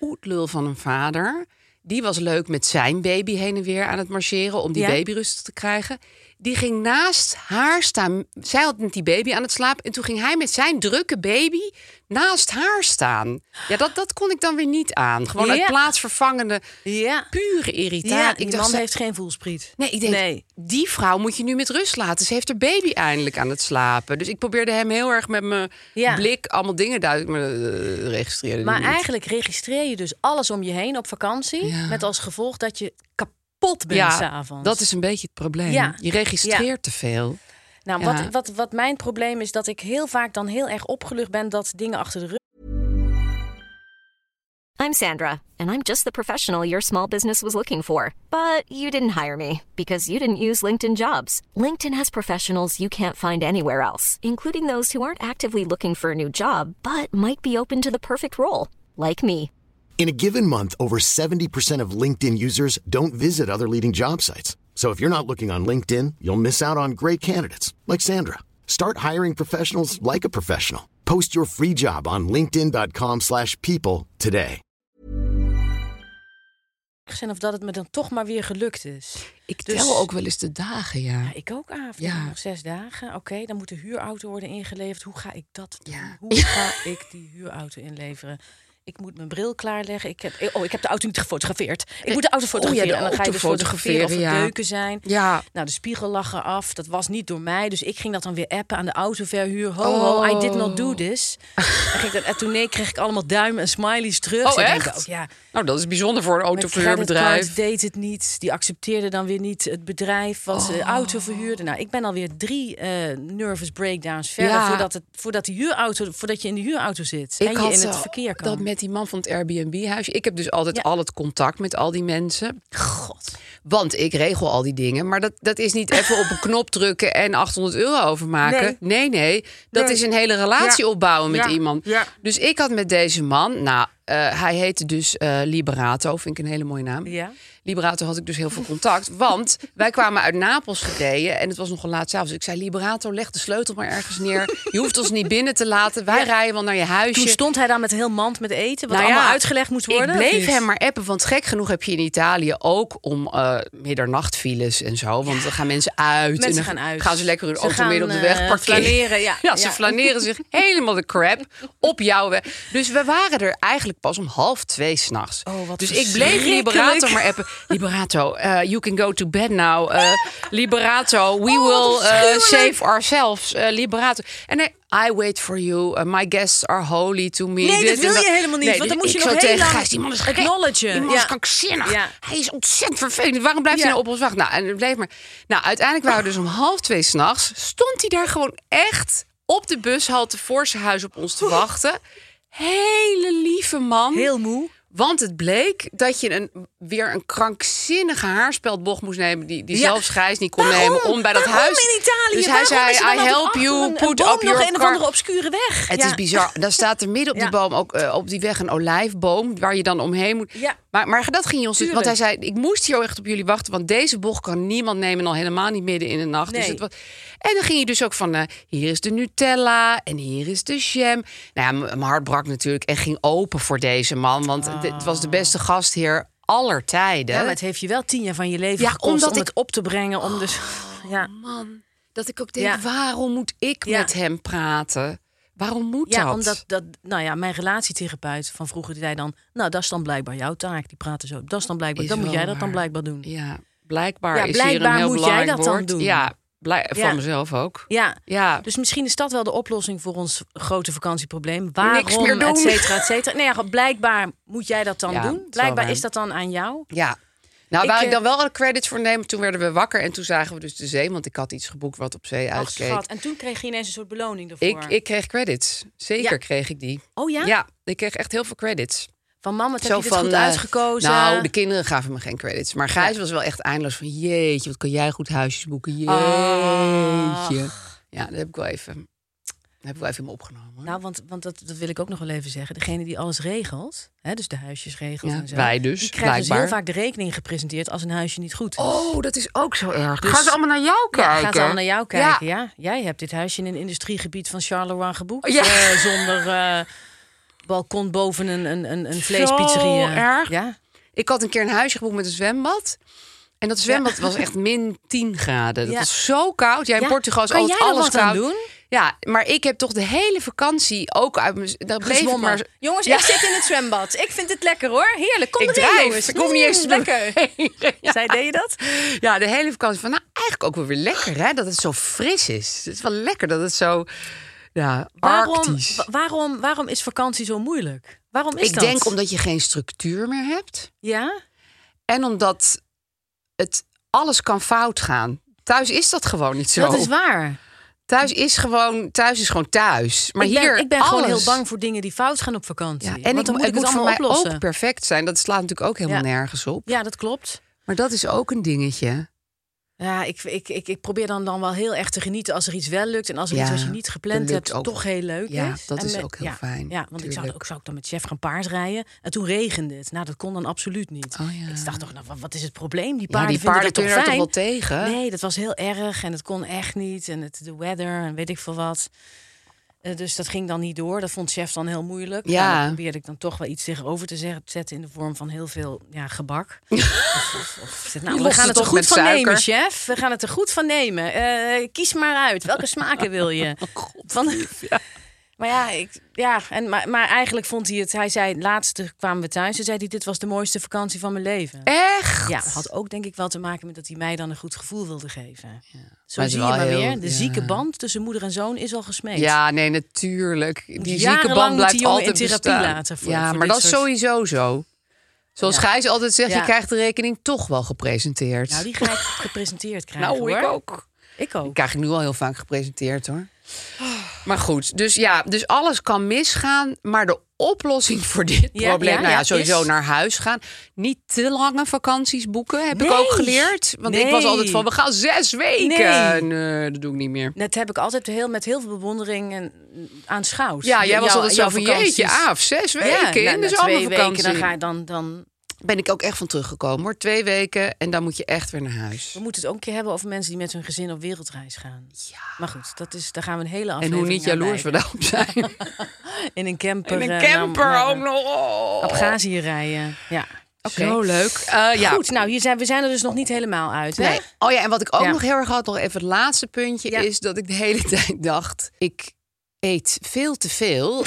oetlul van een vader... die was leuk met zijn baby heen en weer aan het marcheren... om die
Ja.
baby rustig te krijgen. Die ging naast haar staan. Zij had met die baby aan het slapen. En toen ging hij met zijn drukke baby naast haar staan. Ja, dat, dat kon ik dan weer niet aan. Gewoon uit
Ja.
plaatsvervangende,
Ja.
pure irritatie.
Ja,
Ik
die
dacht,
man
zij-
heeft geen voelspriet.
Nee, ik denk,
Nee.
die vrouw moet je nu met rust laten. Ze heeft haar baby eindelijk aan het slapen. Dus ik probeerde hem heel erg met mijn
Ja.
blik allemaal dingen duidelijk maar, eh, registreerde. die
Maar
niet.
eigenlijk registreer je dus alles om je heen op vakantie. Met als gevolg dat je kapot bent
ja,
s'avonds.
dat is een beetje het probleem.
Ja.
Je registreert te veel.
Nou,
Ja.
wat, wat, wat mijn probleem is, dat ik heel vaak dan heel erg opgelucht ben dat dingen achter de rug
I'm Sandra, and I'm just the professional your small business was looking for. But you didn't hire me because you didn't use LinkedIn jobs. LinkedIn has professionals you can't find anywhere else, including those who aren't actively looking for a new job but might be open to the perfect role, like me.
In a given month, over 70% of LinkedIn users don't visit other leading job sites. So if you're not looking on LinkedIn, you'll miss out on great candidates like Sandra. Start hiring professionals like a professional. Post your free job on linkedin.com/people slash people today.
zijn of dat het me dan toch maar weer gelukt is.
Ik
Dus-
tel ook wel eens de dagen, ja.
Ik ook avond,
Ja.
nog zes dagen. Oké, dan moet de huurauto worden ingeleverd. Hoe ga ik dat doen?
Ja.
Hoe ga ik die huurauto inleveren? Ik moet mijn bril klaarleggen. Ik heb, oh, ik heb de auto niet gefotografeerd. Ik moet de auto fotograferen.
Oh, de
en dan ga je
auto
dus fotograferen of er
fotograferen, ja.
deuken zijn.
Ja.
Nou, de spiegel lag eraf. Dat was niet door mij. Dus ik ging dat dan weer appen aan de autoverhuur. Ho, ho, I did not do this. en, ging ik dat, en toen nee, kreeg ik allemaal duimen en smileys terug.
Oh,
Zo denk ik
echt?
ook, ja.
Nou, dat is bijzonder voor een
Met
autoverhuurbedrijf.
creditcard deed het niet. Die accepteerde dan weer niet het bedrijf wat ze de auto verhuurde. Nou, ik ben alweer drie eh, nervous breakdowns verder
Ja.
voordat, het, voordat, die huurauto, voordat je in de huurauto zit. en je in
zo
het verkeer kan.
dat met die man van het Airbnb-huis. Ik heb dus altijd
Ja.
al het contact met al die mensen.
God.
Want ik regel al die dingen. Maar dat, dat is niet even op een knop drukken en 800 euro overmaken. Nee, nee. dat
Nee.
is een hele relatie
Ja.
opbouwen met
Ja.
iemand.
Ja.
Dus ik had met deze man. Nou, eh, hij heette dus eh, Liberato. Vind ik een hele mooie naam.
Ja.
Liberato had ik dus heel veel contact. Want wij kwamen uit Napels gereden. En het was nog een laat avond. Dus ik zei: Liberato, leg de sleutel maar ergens neer. Je hoeft ons niet binnen te laten. Wij rijden wel naar je huisje.
Toen stond hij daar met een heel mand met eten, wat
Nou ja,
allemaal uitgelegd moest worden.
Ik bleef
Dus-
hem maar appen, want gek genoeg heb je in Italië ook om eh middernachtfiles en zo. Want dan gaan mensen uit. en
Mensen
dan
gaan uit.
Gaan ze lekker hun
Ze
auto
gaan,
midden op de
eh,
weg parkeren.
flaneren, ja.
ze
Ja.
flaneren zich helemaal de crap op jouw weg. Dus we waren er eigenlijk pas om half twee s'nachts.
Oh, wat
dus ik bleef Liberato
verschrikkelijk.
maar appen. Liberato, eh, you can go to bed now. Eh, Liberato, we
Oh, wat
will eh,
afschuwelijk.
save ourselves. Eh, Liberato. En hij, I wait for you. Eh, my guests are holy to me.
Nee,
Dit
dat
en
wil
dat.
je helemaal niet.
Nee,
want
dus
dan moet je
ik
nog
zou
heel
tegen
lang
Gijs, die man is gek.
acknowledgen.
Die man is
Ja.
krankzinnig.
Ja.
Hij is ontzettend vervelend. Waarom blijft hij
Ja.
nou op ons wachten? Nou, en het bleef maar. Nou, uiteindelijk waren we dus om half twee s'nachts. Stond hij daar gewoon echt op de bushalte voor zijn huis op ons te wachten. Hele lieve man.
Heel moe.
Want het bleek dat je een, weer een krankzinnige haarspeldbocht moest nemen... die, die
Ja.
zelfs Gijs niet kon
Waarom?
nemen om bij dat
Waarom
huis...
in Italië?
Dus hij
Waarom
zei,
is er dan
I
altijd
help
achter
you,
een- een
put
boom
up your
nog een of
car.
andere obscure weg.
Het
Ja.
is bizar. Dan staat er midden op
Ja.
die boom ook eh, op die weg een olijfboom waar je dan omheen moet.
Ja.
Maar, maar dat ging je ons. dus-
Tuurlijk.
Want hij zei: ik moest hier echt op jullie wachten, want deze bocht kan niemand nemen en al helemaal niet midden in de nacht. Dus
Nee.
het was... En dan ging je dus ook van: eh, hier is de Nutella en hier is de jam. Nou ja, m- mijn hart brak natuurlijk en ging open voor deze man, want het- het was de beste gastheer aller tijden.
Ja, maar het heeft je wel tien jaar van je leven
Ja,
gekost
omdat
om
ik- Oh.
het op te brengen. Om dus, ja.
Man, dat ik ook denk:
Ja.
waarom moet ik
Ja.
met hem praten? Waarom moet
Ja,
dat?
omdat dat, nou ja, mijn relatietherapeut van vroeger die zei dan, nou dat is dan blijkbaar jouw taak. Die praten zo, dat is dan blijkbaar,
Is
dan moet
wel
jij dat
waar.
dan blijkbaar doen. Ja,
Ja, blijkbaar
Ja,
is hier een
blijkbaar
heel
moet jij
belangrijk
dat dan
woord.
doen.
Ja, blij- van
Ja.
mezelf ook. Ja.
dus misschien is dat wel de oplossing voor ons grote vakantieprobleem. Waarom,
meer doen.
et cetera, et cetera. Nee, ja, blijkbaar moet jij dat dan
Ja, het is
doen.
wel
Blijkbaar
waar.
is dat dan aan jou.
Ja. Nou,
Ik,
waar ik
eh,
dan wel alle credits voor neem, toen werden we wakker en toen zagen we dus de zee, want ik had iets geboekt wat op zee
Ach,
uitkeek.
schat. En toen kreeg je ineens een soort beloning ervoor.
Ik, ik kreeg credits. Zeker
Ja.
kreeg ik die.
oh ja?
Ja, ik kreeg echt heel veel credits.
Van mama, wat heb
Zo
je dit
van,
goed
eh,
uitgekozen?
Nou, de kinderen gaven me geen credits. Maar Gijs was wel echt eindeloos van... Jeetje, wat kan jij goed huisjes boeken. Jeetje. Ja, dat heb ik wel even heb ik wel even in me opgenomen. hoor.
Nou, want, want dat, dat wil ik ook nog wel even zeggen. Degene die alles regelt, hè, dus de huisjes regelt
Ja,
en zo.
wij dus,
Die krijgen dus heel
blijkbaar.
vaak de rekening gepresenteerd als een huisje niet goed is.
Oh, dat is ook zo erg.
Dus-
gaan ze allemaal naar jou
Ja,
kijken?
gaan ze allemaal naar jou
Ja.
kijken, ja. Jij hebt dit huisje in een industriegebied van Charleroi geboekt.
Oh, Ja.
eh, zonder eh, balkon boven een, een, een, een vleespizzeria.
erg.
Ja.
Ik had een keer een huisje geboekt met een zwembad. En dat zwembad was echt min 10 graden. Dat
Ja.
was zo koud. Jij in
Ja.
Portugal is
Kan
altijd
jij er
alles
wat aan
koud.
doen?
Ja, maar ik heb toch de hele vakantie ook uit mijn... Dat bleef ik
Gezwommen.
maar...
Jongens,
Ja.
ik zit in het zwembad. Ik vind het lekker hoor. Heerlijk. Kom
Ik
erin,
drijf.
jongens.
Ik hoef niet
Mm,
eens te
lekker.
bewegen. Ja.
Zij deed je dat?
Ja, de hele vakantie van, nou, eigenlijk ook wel weer lekker, hè? Dat het zo fris is. Het is wel lekker dat het zo, ja,
Waarom,
arctisch.
wa- waarom, waarom is vakantie zo moeilijk? Waarom is
Ik
dat?
denk omdat je geen structuur meer hebt.
Ja?
En omdat het, alles kan fout gaan. Thuis is dat gewoon niet zo.
Dat is waar.
Thuis is gewoon thuis. Is gewoon thuis. Maar
ik ben,
hier
ik ben gewoon
alles.
heel bang voor dingen die fout gaan op vakantie.
Ja, en
Want
ik,
dan moet
het
ik
moet
het
voor
allemaal
mij
oplossen.
ook perfect zijn. Dat slaat natuurlijk ook helemaal
Ja.
nergens op.
Ja, dat klopt.
Maar dat is ook een dingetje.
Ja, ik, ik, ik, ik probeer dan, dan wel heel erg te genieten als er iets wel lukt. En als er
Ja,
iets wat je niet gepland
dat lukt
hebt,
ook.
toch heel leuk
Ja,
is.
dat
En
is ook heel
ja,
fijn,
Ja, want ik zou,
tuurlijk.
ook, zou ik dan met chef gaan paardrijden. En toen regende het. Nou, dat kon dan absoluut niet.
Oh ja.
Ik dacht toch, nou, wat- wat is het probleem? Die
ja,
paarden,
die paarden
vinden
kunnen
dat
er
toch
toch wel
fijn?
tegen.
Nee, dat was heel erg en het kon echt niet. En het, de weather en weet ik veel wat. Eh, dus dat ging dan niet door. Dat vond chef dan heel moeilijk.
Ja.
Nou, dan probeerde ik dan toch wel iets tegenover te zeggen, zetten in de vorm van heel veel ja, gebak. Dus, of, of, of, ik zeg, nou,
Je
we
lost
gaan
het
het er
op
goed
met
van
suiker.
nemen, chef. We gaan het er goed van nemen. Eh, kies maar uit. Welke smaken wil je?
Oh,
van, maar ja, ik, ja en, maar, maar eigenlijk vond hij het... Hij zei, laatst kwamen we thuis en zei hij... dit was de mooiste vakantie van mijn leven.
Echt?
Ja, had ook denk ik wel te maken met dat hij mij dan een goed gevoel wilde geven. Zo
Maar het is
zie je
wel
maar
heel-
weer, de
ja.
zieke band tussen moeder en zoon is al gesmeed.
Ja, nee, natuurlijk. Die zieke
jarenlang
band
moet
blijft
die jongen in
altijd
therapie
bestaan.
laten voor-
ja,
voor
maar
dit
dat is
soort-
sowieso zo. Zoals
Ja.
Gijs altijd zegt,
Ja.
je krijgt de rekening toch wel gepresenteerd.
Nou, die ga ik gepresenteerd krijgen
Nou, ik
hoor.
ook.
Ik
Die
ook.
krijg ik nu al heel vaak gepresenteerd hoor. Maar goed, dus ja, dus alles kan misgaan. Maar de oplossing voor dit
Ja,
probleem,
ja,
nou ja,
ja,
sowieso
is-
naar huis gaan. Niet te lange vakanties boeken, heb ik
Nee.
ook geleerd. Want ik was
Nee.
altijd van, we gaan zes weken.
Nee.
Nee, dat doe ik niet meer.
Net heb ik altijd heel, met heel veel bewondering en, aanschouwd.
Ja, jij was
Jouw-
altijd zo
jouw
van,
vakanties.
jeetje, af, zes weken
ja, nou,
in
na
de
twee weken,
zomervakantie.
dan ga je dan, dan...
ben ik ook echt van teruggekomen hoor. Twee weken en dan moet je echt weer naar huis.
We moeten het ook een keer hebben over mensen die met hun gezin op wereldreis gaan. Ja. Maar goed, dat is, daar gaan we een hele
En
aflevering
hoe niet
aan
jaloers we
wijden.
daarop zijn.
In een camper.
In een
eh, naar-
camper
naar,
ook nog. Oh.
Abhazie rijden. Ja. Oké.
Zo leuk. Eh, ja.
Goed, nou, hier zijn, we zijn er dus nog niet helemaal uit. Hè?
Nee. Oh ja, en wat ik ook
Ja.
nog heel erg had, nog even het laatste puntje,
Ja.
is dat ik de hele tijd dacht: ik eet veel te veel.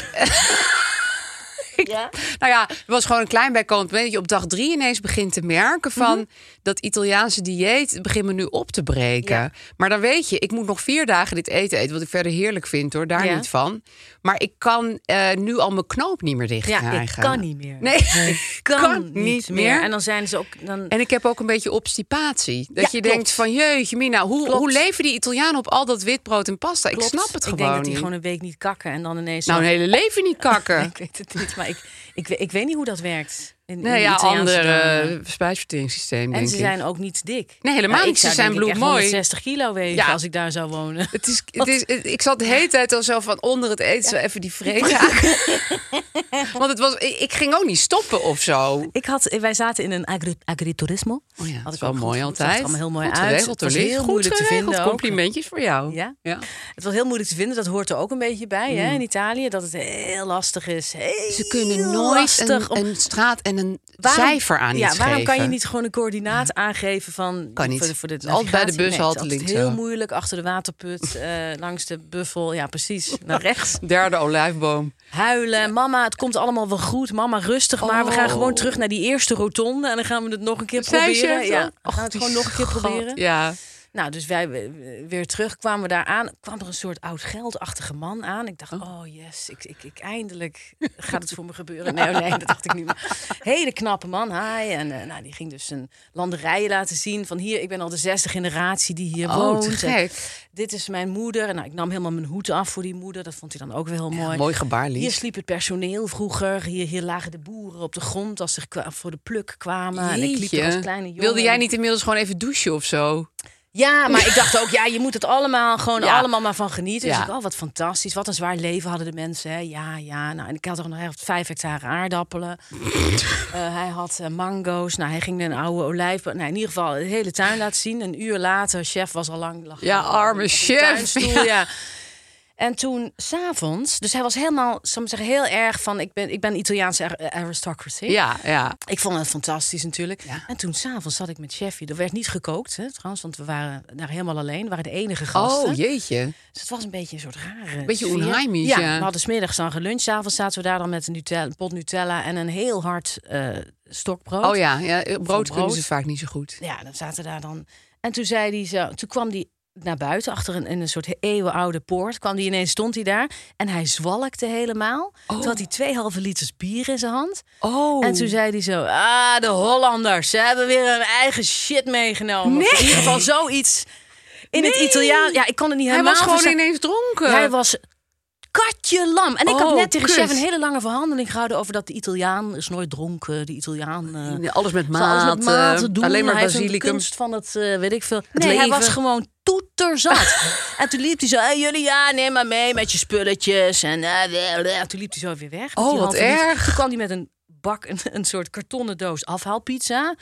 Ik- Nou ja, het was gewoon een klein bijkomend moment dat je op dag drie ineens begint te merken van
Mhm.
dat Italiaanse dieet het begint me nu op te breken.
Ja.
Maar dan weet je, ik moet nog vier dagen dit eten eten, wat ik verder heerlijk vind hoor, daar
Ja.
niet van. Maar ik kan eh, nu al mijn knoop niet meer dicht
Ja, ik
krijgen.
kan niet meer.
Nee,
ik kan, niet meer. En
En,
dan zijn ze ook... Dan,
ik heb ook een beetje obstipatie. Dat
Ja,
je
klopt.
denkt van jeetje mina, hoe,
Klopt.
hoe leven die Italianen op al dat witbrood en pasta?
klopt,
Ik snap het gewoon
Ik denk dat die
niet.
gewoon een week niet kakken en dan ineens...
Nou, een
nog-
hele leven niet kakken.
Ik weet het niet, maar ik, ik, we- ik weet niet hoe dat werkt. In, in
Nee, ja,
Italiaanse
ander
dorpen.
eh, spijsverteringssysteem denk
En
ik.
ze zijn ook niet dik.
Nee, helemaal
Nou,
niet.
Ik zou
Ze zijn
denk ik echt
bloedmooi.
160 kilo wegen
Ja.
als ik daar zou wonen.
Het is, het is, het- ik zat de hele tijd al zo van onder het eten zo even die vrees aan. Want het was, ik, ik ging ook niet stoppen of zo.
Ik had, wij zaten in een agri agriturismo.
Oh ja, dat
Oh
is
Had ik
wel
ook goed-
mooi
het
altijd.
zag er allemaal heel mooi
Goed
uit.
Geregeld,
Het
door
was
Liz.
heel
Goed
moeilijk te
geregeld.
vinden ook.
Complimentjes voor jou.
Ja?
ja.
Het was heel moeilijk te vinden, dat hoort er ook een beetje bij hè, in Italië. Dat het heel lastig is. Heel
Ze kunnen nooit een,
lastig om-
een straat en een
Waarom-
cijfer aan
ja,
iets
waarom kan je
geven.
niet gewoon een coördinaat aangeven van...
Kan niet.
Voor de, voor de
Altijd bij de
navigatie?
bus,
Mm. Nee,
altijd
het is
links,
heel
ja.
moeilijk, achter de waterput, eh, langs de buffel. Ja, precies, naar rechts.
Derde olijfboom.
Huilen, mama, het komt allemaal wel goed. Mama, rustig maar. We gaan
Oh.
gewoon terug naar die eerste rotonde... en dan gaan we het nog een keer
Zij
proberen.
zegt
Ja,
dat.
we gaan het
Och,
gewoon nog een keer
God,
proberen.
Ja.
Nou, dus wij we- weer terug kwamen we daar aan. kwam er een soort oud geldachtige man aan. Ik dacht, oh yes, ik, ik, ik, eindelijk gaat het voor me gebeuren. Nee, oh nee, dat dacht ik niet. Maar hele knappe man, hi. En eh, nou, die ging dus zijn landerijen laten zien. Van hier, ik ben al de zesde generatie die hier
Oh,
woont.
te
En
gek.
Dit is mijn moeder. En nou, ik nam helemaal mijn hoed af voor die moeder. Dat vond hij dan ook wel heel mooi.
Mooi gebaar, Lies.
Hier sliep het personeel vroeger. Hier, hier lagen de boeren op de grond als ze kwa- voor de pluk kwamen. En ik liep er
Jeetje.
als kleine jongen.
Wilde jij niet inmiddels gewoon even douchen of zo?
Ja, maar ik dacht ook, ja, je moet het allemaal gewoon
Ja.
allemaal maar van genieten. Dus
Ja.
ik, oh, wat fantastisch. Wat een zwaar leven hadden de mensen. Hè. Ja, ja. Nou, en ik had ook nog echt vijf hectare aardappelen. Eh, hij had eh, mango's. Nou, hij ging een oude olijf. Nou, in ieder geval de hele tuin laten zien. Een uur later, chef was al lang. lag
Ja,
al Oh, op
arme
een
chef.
tuinstoel,
Ja.
ja. En toen s'avonds, dus hij was helemaal, zal ik maar zeggen, heel erg van: ik ben, ik ben Italiaanse ar- aristocracy.
Ja, ja.
Ik vond het fantastisch natuurlijk.
Ja.
En toen s'avonds zat ik met Chefje. Er werd niet gekookt, hè, trouwens, want we waren daar helemaal alleen. We waren de enige gasten.
Oh, jeetje.
Dus het was een beetje een soort rare
Beetje
sfeer.
onheimisch, ja.
we hadden smiddags dan geluncht. S'avonds zaten we daar dan met een Nutella, een pot Nutella en een heel hard eh, stokbrood.
Oh ja, ja brood,
brood.
kunnen ze vaak niet zo goed.
Ja, dan zaten we daar dan. En toen zei hij zo, toen kwam hij naar buiten achter een, in een soort eeuwenoude poort. Kwam hij ineens, stond hij daar en hij zwalkte helemaal. Toen had hij twee halve liters bier in zijn hand.
Oh.
En toen zei hij zo, ah, de Hollanders, ze hebben weer hun eigen shit meegenomen. Of In ieder geval zoiets in het Italiaans. Ja, ik kon het niet
hij
helemaal
was gewoon
verstaan.
ineens dronken.
Hij was katje lam. En ik had
Oh,
net tegen
kut.
chef een hele lange verhandeling gehouden over dat de Italiaan is nooit dronken. De Italiaan eh,
Ja, alles met
zal alles
maat,
met maat
eh,
doen.
alleen maar
hij heeft een
basilicum.
kunst van het, eh, weet ik veel.
Het
nee, hij
leven.
was gewoon toeterzat. en toen liep hij zo, hey, jullie ja, neem maar mee met je spulletjes. En eh, bleh, bleh. toen liep hij zo weer weg. met
Oh,
die
wat
halve liter.
erg.
Toen kwam hij met een bak, een, een soort kartonnen doos afhaalpizza.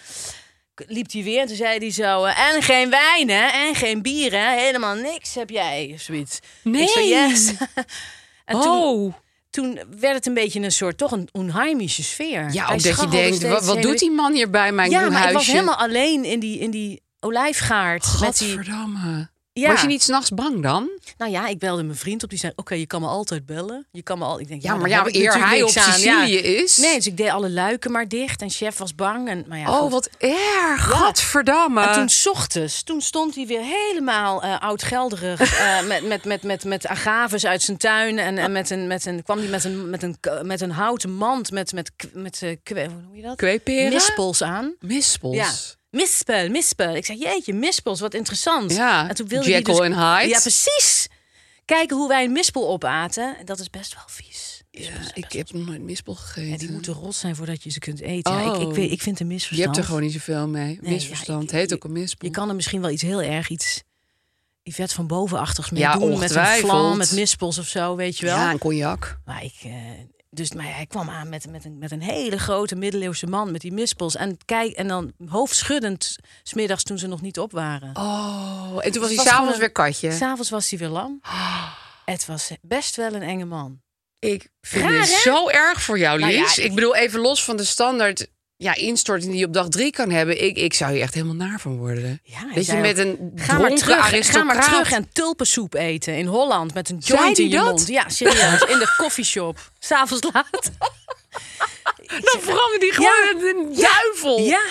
K- Liep hij weer en toen zei hij zo... eh, En geen wijn, hè? En geen bier, hè? Helemaal niks heb jij, of zoiets. Ik zo,
Nee.
yes. en toen,
oh.
toen werd het een beetje een soort... toch een onheimische sfeer.
Ja,
Hij
ook dat je
scharrelde
denkt,
steeds
wat, wat
heen en
doet die man hier bij mijn
ja, maar
huisje?
ik was helemaal alleen in die, in die olijfgaard. Met die,
Godverdamme.
ja.
Was je niet s'nachts bang dan?
Nou ja, ik belde mijn vriend op. Die zei, oké, je kan me altijd bellen. Je kan me al... Ik denk,
Ja,
ja,
maar
daar
ja,
heb ik
eer
natuurlijk
hij
niks
op
aan.
Sicilië
ja.
is.
Nee, dus ik deed alle luiken maar dicht. En chef was bang. En, maar ja,
oh,
goed.
wat erg. Godverdamme.
En toen 's ochtends, toen stond hij weer helemaal eh oud-gelderig. eh, met, met, met, met, met agaves uit zijn tuin. En, en met een, met een, kwam hij met een, met, een, k- met een houten mand met, met, k- met eh, kwe- hoe noem je dat?
Kweeperen?
Mispels aan.
Mispels.
Ja. Mispel, mispel. Ik zeg, jeetje, mispels, wat interessant.
Ja,
en toen wilde hij
Jekyll
dus-
and Hyde.
Ja, precies. Kijken hoe wij een mispel opaten. En Dat is best wel vies. Mispels zijn
Ik
best-
heb nog nooit mispel gegeten.
Ja, die moeten rot zijn voordat je ze kunt eten. Ja, ik, ik,
Oh.
weet, ik vind een
je
misverstand.
hebt er gewoon niet zoveel mee.
Nee, ja,
misverstand.
ik-
Het heet
je-
ook een mispel.
Je kan er misschien wel iets heel erg, iets vet van bovenachtigs mee
Ja,
doen. Met een
ongetwijfeld.
vlam, met mispels of zo, weet je wel.
Ja, een cognac.
Maar ik, eh, dus, maar hij kwam aan met, met, een, met een hele grote middeleeuwse man met die mispels. En, kijk, en dan hoofdschuddend, smiddags toen ze nog niet op waren.
Oh, en toen was
Het
hij s'avonds
gewoon-
weer katje.
S'avonds was hij weer lam. Het was best wel een enge man.
Ik vind
Raar,
het
hè?
zo erg voor jou,
Nou
Lies.
ja,
ik...
ik-
bedoel, even los van de standaard ja, instorting die je op dag drie kan hebben. Ik, ik zou hier echt helemaal naar van worden.
Ja, hij
dat je
zei
met
ook,
een
Ga maar, terug, ga
aristocraat...
maar terug en tulpensoep eten in Holland met een
Zei
joint
hij
in je
dat?
mond. Ja, serieus. In de koffieshop. S'avonds laat.
Dan veranderde die gewoon in een duivel.
Ja.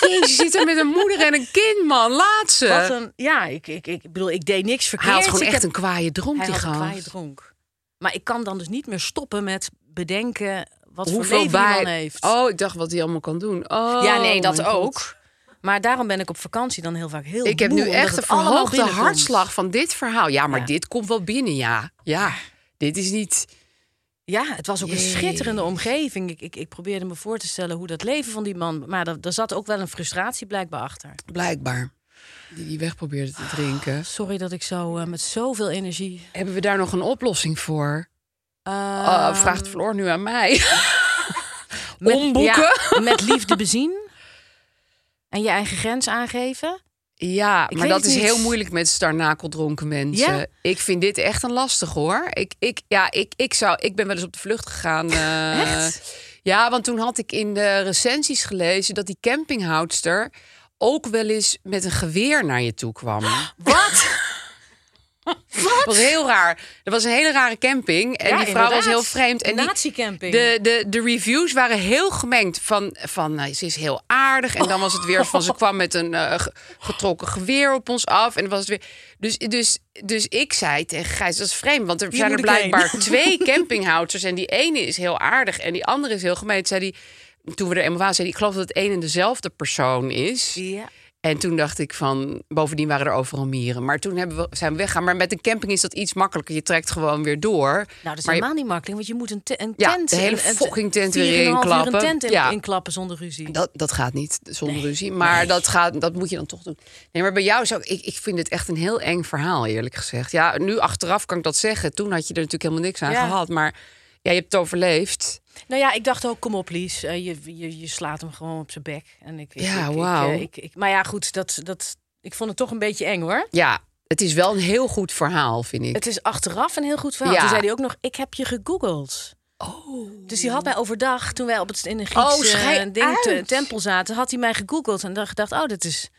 Jezus, je zit er met een moeder en een kind, man. Laat ze.
Wat een, ja, ik, ik, ik bedoel, ik deed niks verkeerd.
Eh. Hij had gewoon
Ik
echt
heb-
een kwaaie dronk,
hij
die
had een kwaaie
gast.
dronk. Maar ik kan dan dus niet meer stoppen met bedenken wat voor
Hoeveel
leven hij
bij...
dan heeft.
Oh, ik dacht wat hij allemaal kan doen. Oh,
ja, nee, dat
mijn God.
ook. Maar daarom ben ik op vakantie dan heel vaak heel
Ik heb nu
moe, omdat
echt een
het allemaal
verhoogde
binnenkomt.
hartslag van dit verhaal. Ja, maar
Ja.
dit komt wel binnen, ja. Ja, dit is niet...
Ja, het was ook een schitterende omgeving. Ik, ik, ik probeerde me voor te stellen hoe dat leven van die man... Maar daar, daar zat ook wel een frustratie blijkbaar achter.
Blijkbaar. Die die weg probeerde te drinken.
Sorry dat ik zo eh, met zoveel energie...
Hebben we daar nog een oplossing voor?
eh,
Ah, vraagt Floor nu aan mij.
met-
Omboeken?
ja, met liefde bezien. En je eigen grens aangeven.
Ja, maar
weet
dat
het
is
niet.
heel moeilijk met starnakeldronken mensen.
Ja?
Ik vind dit echt een lastig hoor. Ik, ik, ja, ik, ik, zou, ik ben wel eens op de vlucht gegaan. eh,
Echt?
Ja, want toen had ik in de recensies gelezen dat die campinghoudster ook wel eens met een geweer naar je toe kwam.
Wat?
Dat was heel raar. Dat was een hele rare camping. En
Ja,
die vrouw
inderdaad.
was heel vreemd. En die-
Nazi-camping.
De, de, de reviews waren heel gemengd. Van, van nou, ze is heel aardig. En dan was het weer van ze kwam met een eh, ge- getrokken geweer op ons af. En dan was het weer. Dus, dus, dus ik zei tegen Gijs, dat is vreemd. Want er zijn er
moet ik heen.
blijkbaar twee campinghouders. En die ene is heel aardig. En die andere is heel gemeen. Toen Zei die, toen we er eenmaal waren, zei die, ik geloof dat het een en dezelfde persoon is.
Ja.
En toen dacht ik van, bovendien waren er overal mieren. Maar toen hebben we, zijn we weggaan. Maar met een camping is dat iets makkelijker. Je trekt gewoon weer door.
Nou, dat is
maar je-
helemaal niet makkelijk, want je moet een, te- een
Ja,
tent...
de hele
een- een-
fucking tent weer
4,5 uur
inklappen.
een tent in,
Ja.
inklappen zonder ruzie.
Dat, dat gaat niet zonder ruzie. Maar dat, gaat, dat moet je dan toch doen. Nee, maar bij jou zou ik- ik. Ik vind het echt een heel eng verhaal, eerlijk gezegd. Ja, nu achteraf kan ik dat zeggen. Toen had je er natuurlijk helemaal niks aan
Ja.
gehad. Maar ja, je hebt het overleefd.
Nou ja, ik dacht ook, kom op Lies, eh, je, je, je slaat hem gewoon op zijn bek. En ik, ik,
Ja,
ik- ik,
wauw.
eh, ik- ik- Maar ja, goed, dat, dat, ik vond het toch een beetje eng hoor.
Ja, het is wel een heel goed verhaal, vind ik.
Het is achteraf een heel goed verhaal.
Ja.
Toen zei hij ook nog, ik heb je gegoogeld. Oh. Dus die had mij overdag, toen wij op het, in een
Oh,
Griekse
schei
eh, ding, te-
uit.
tempel zaten, had hij mij gegoogeld. En dan gedacht, oh, dat is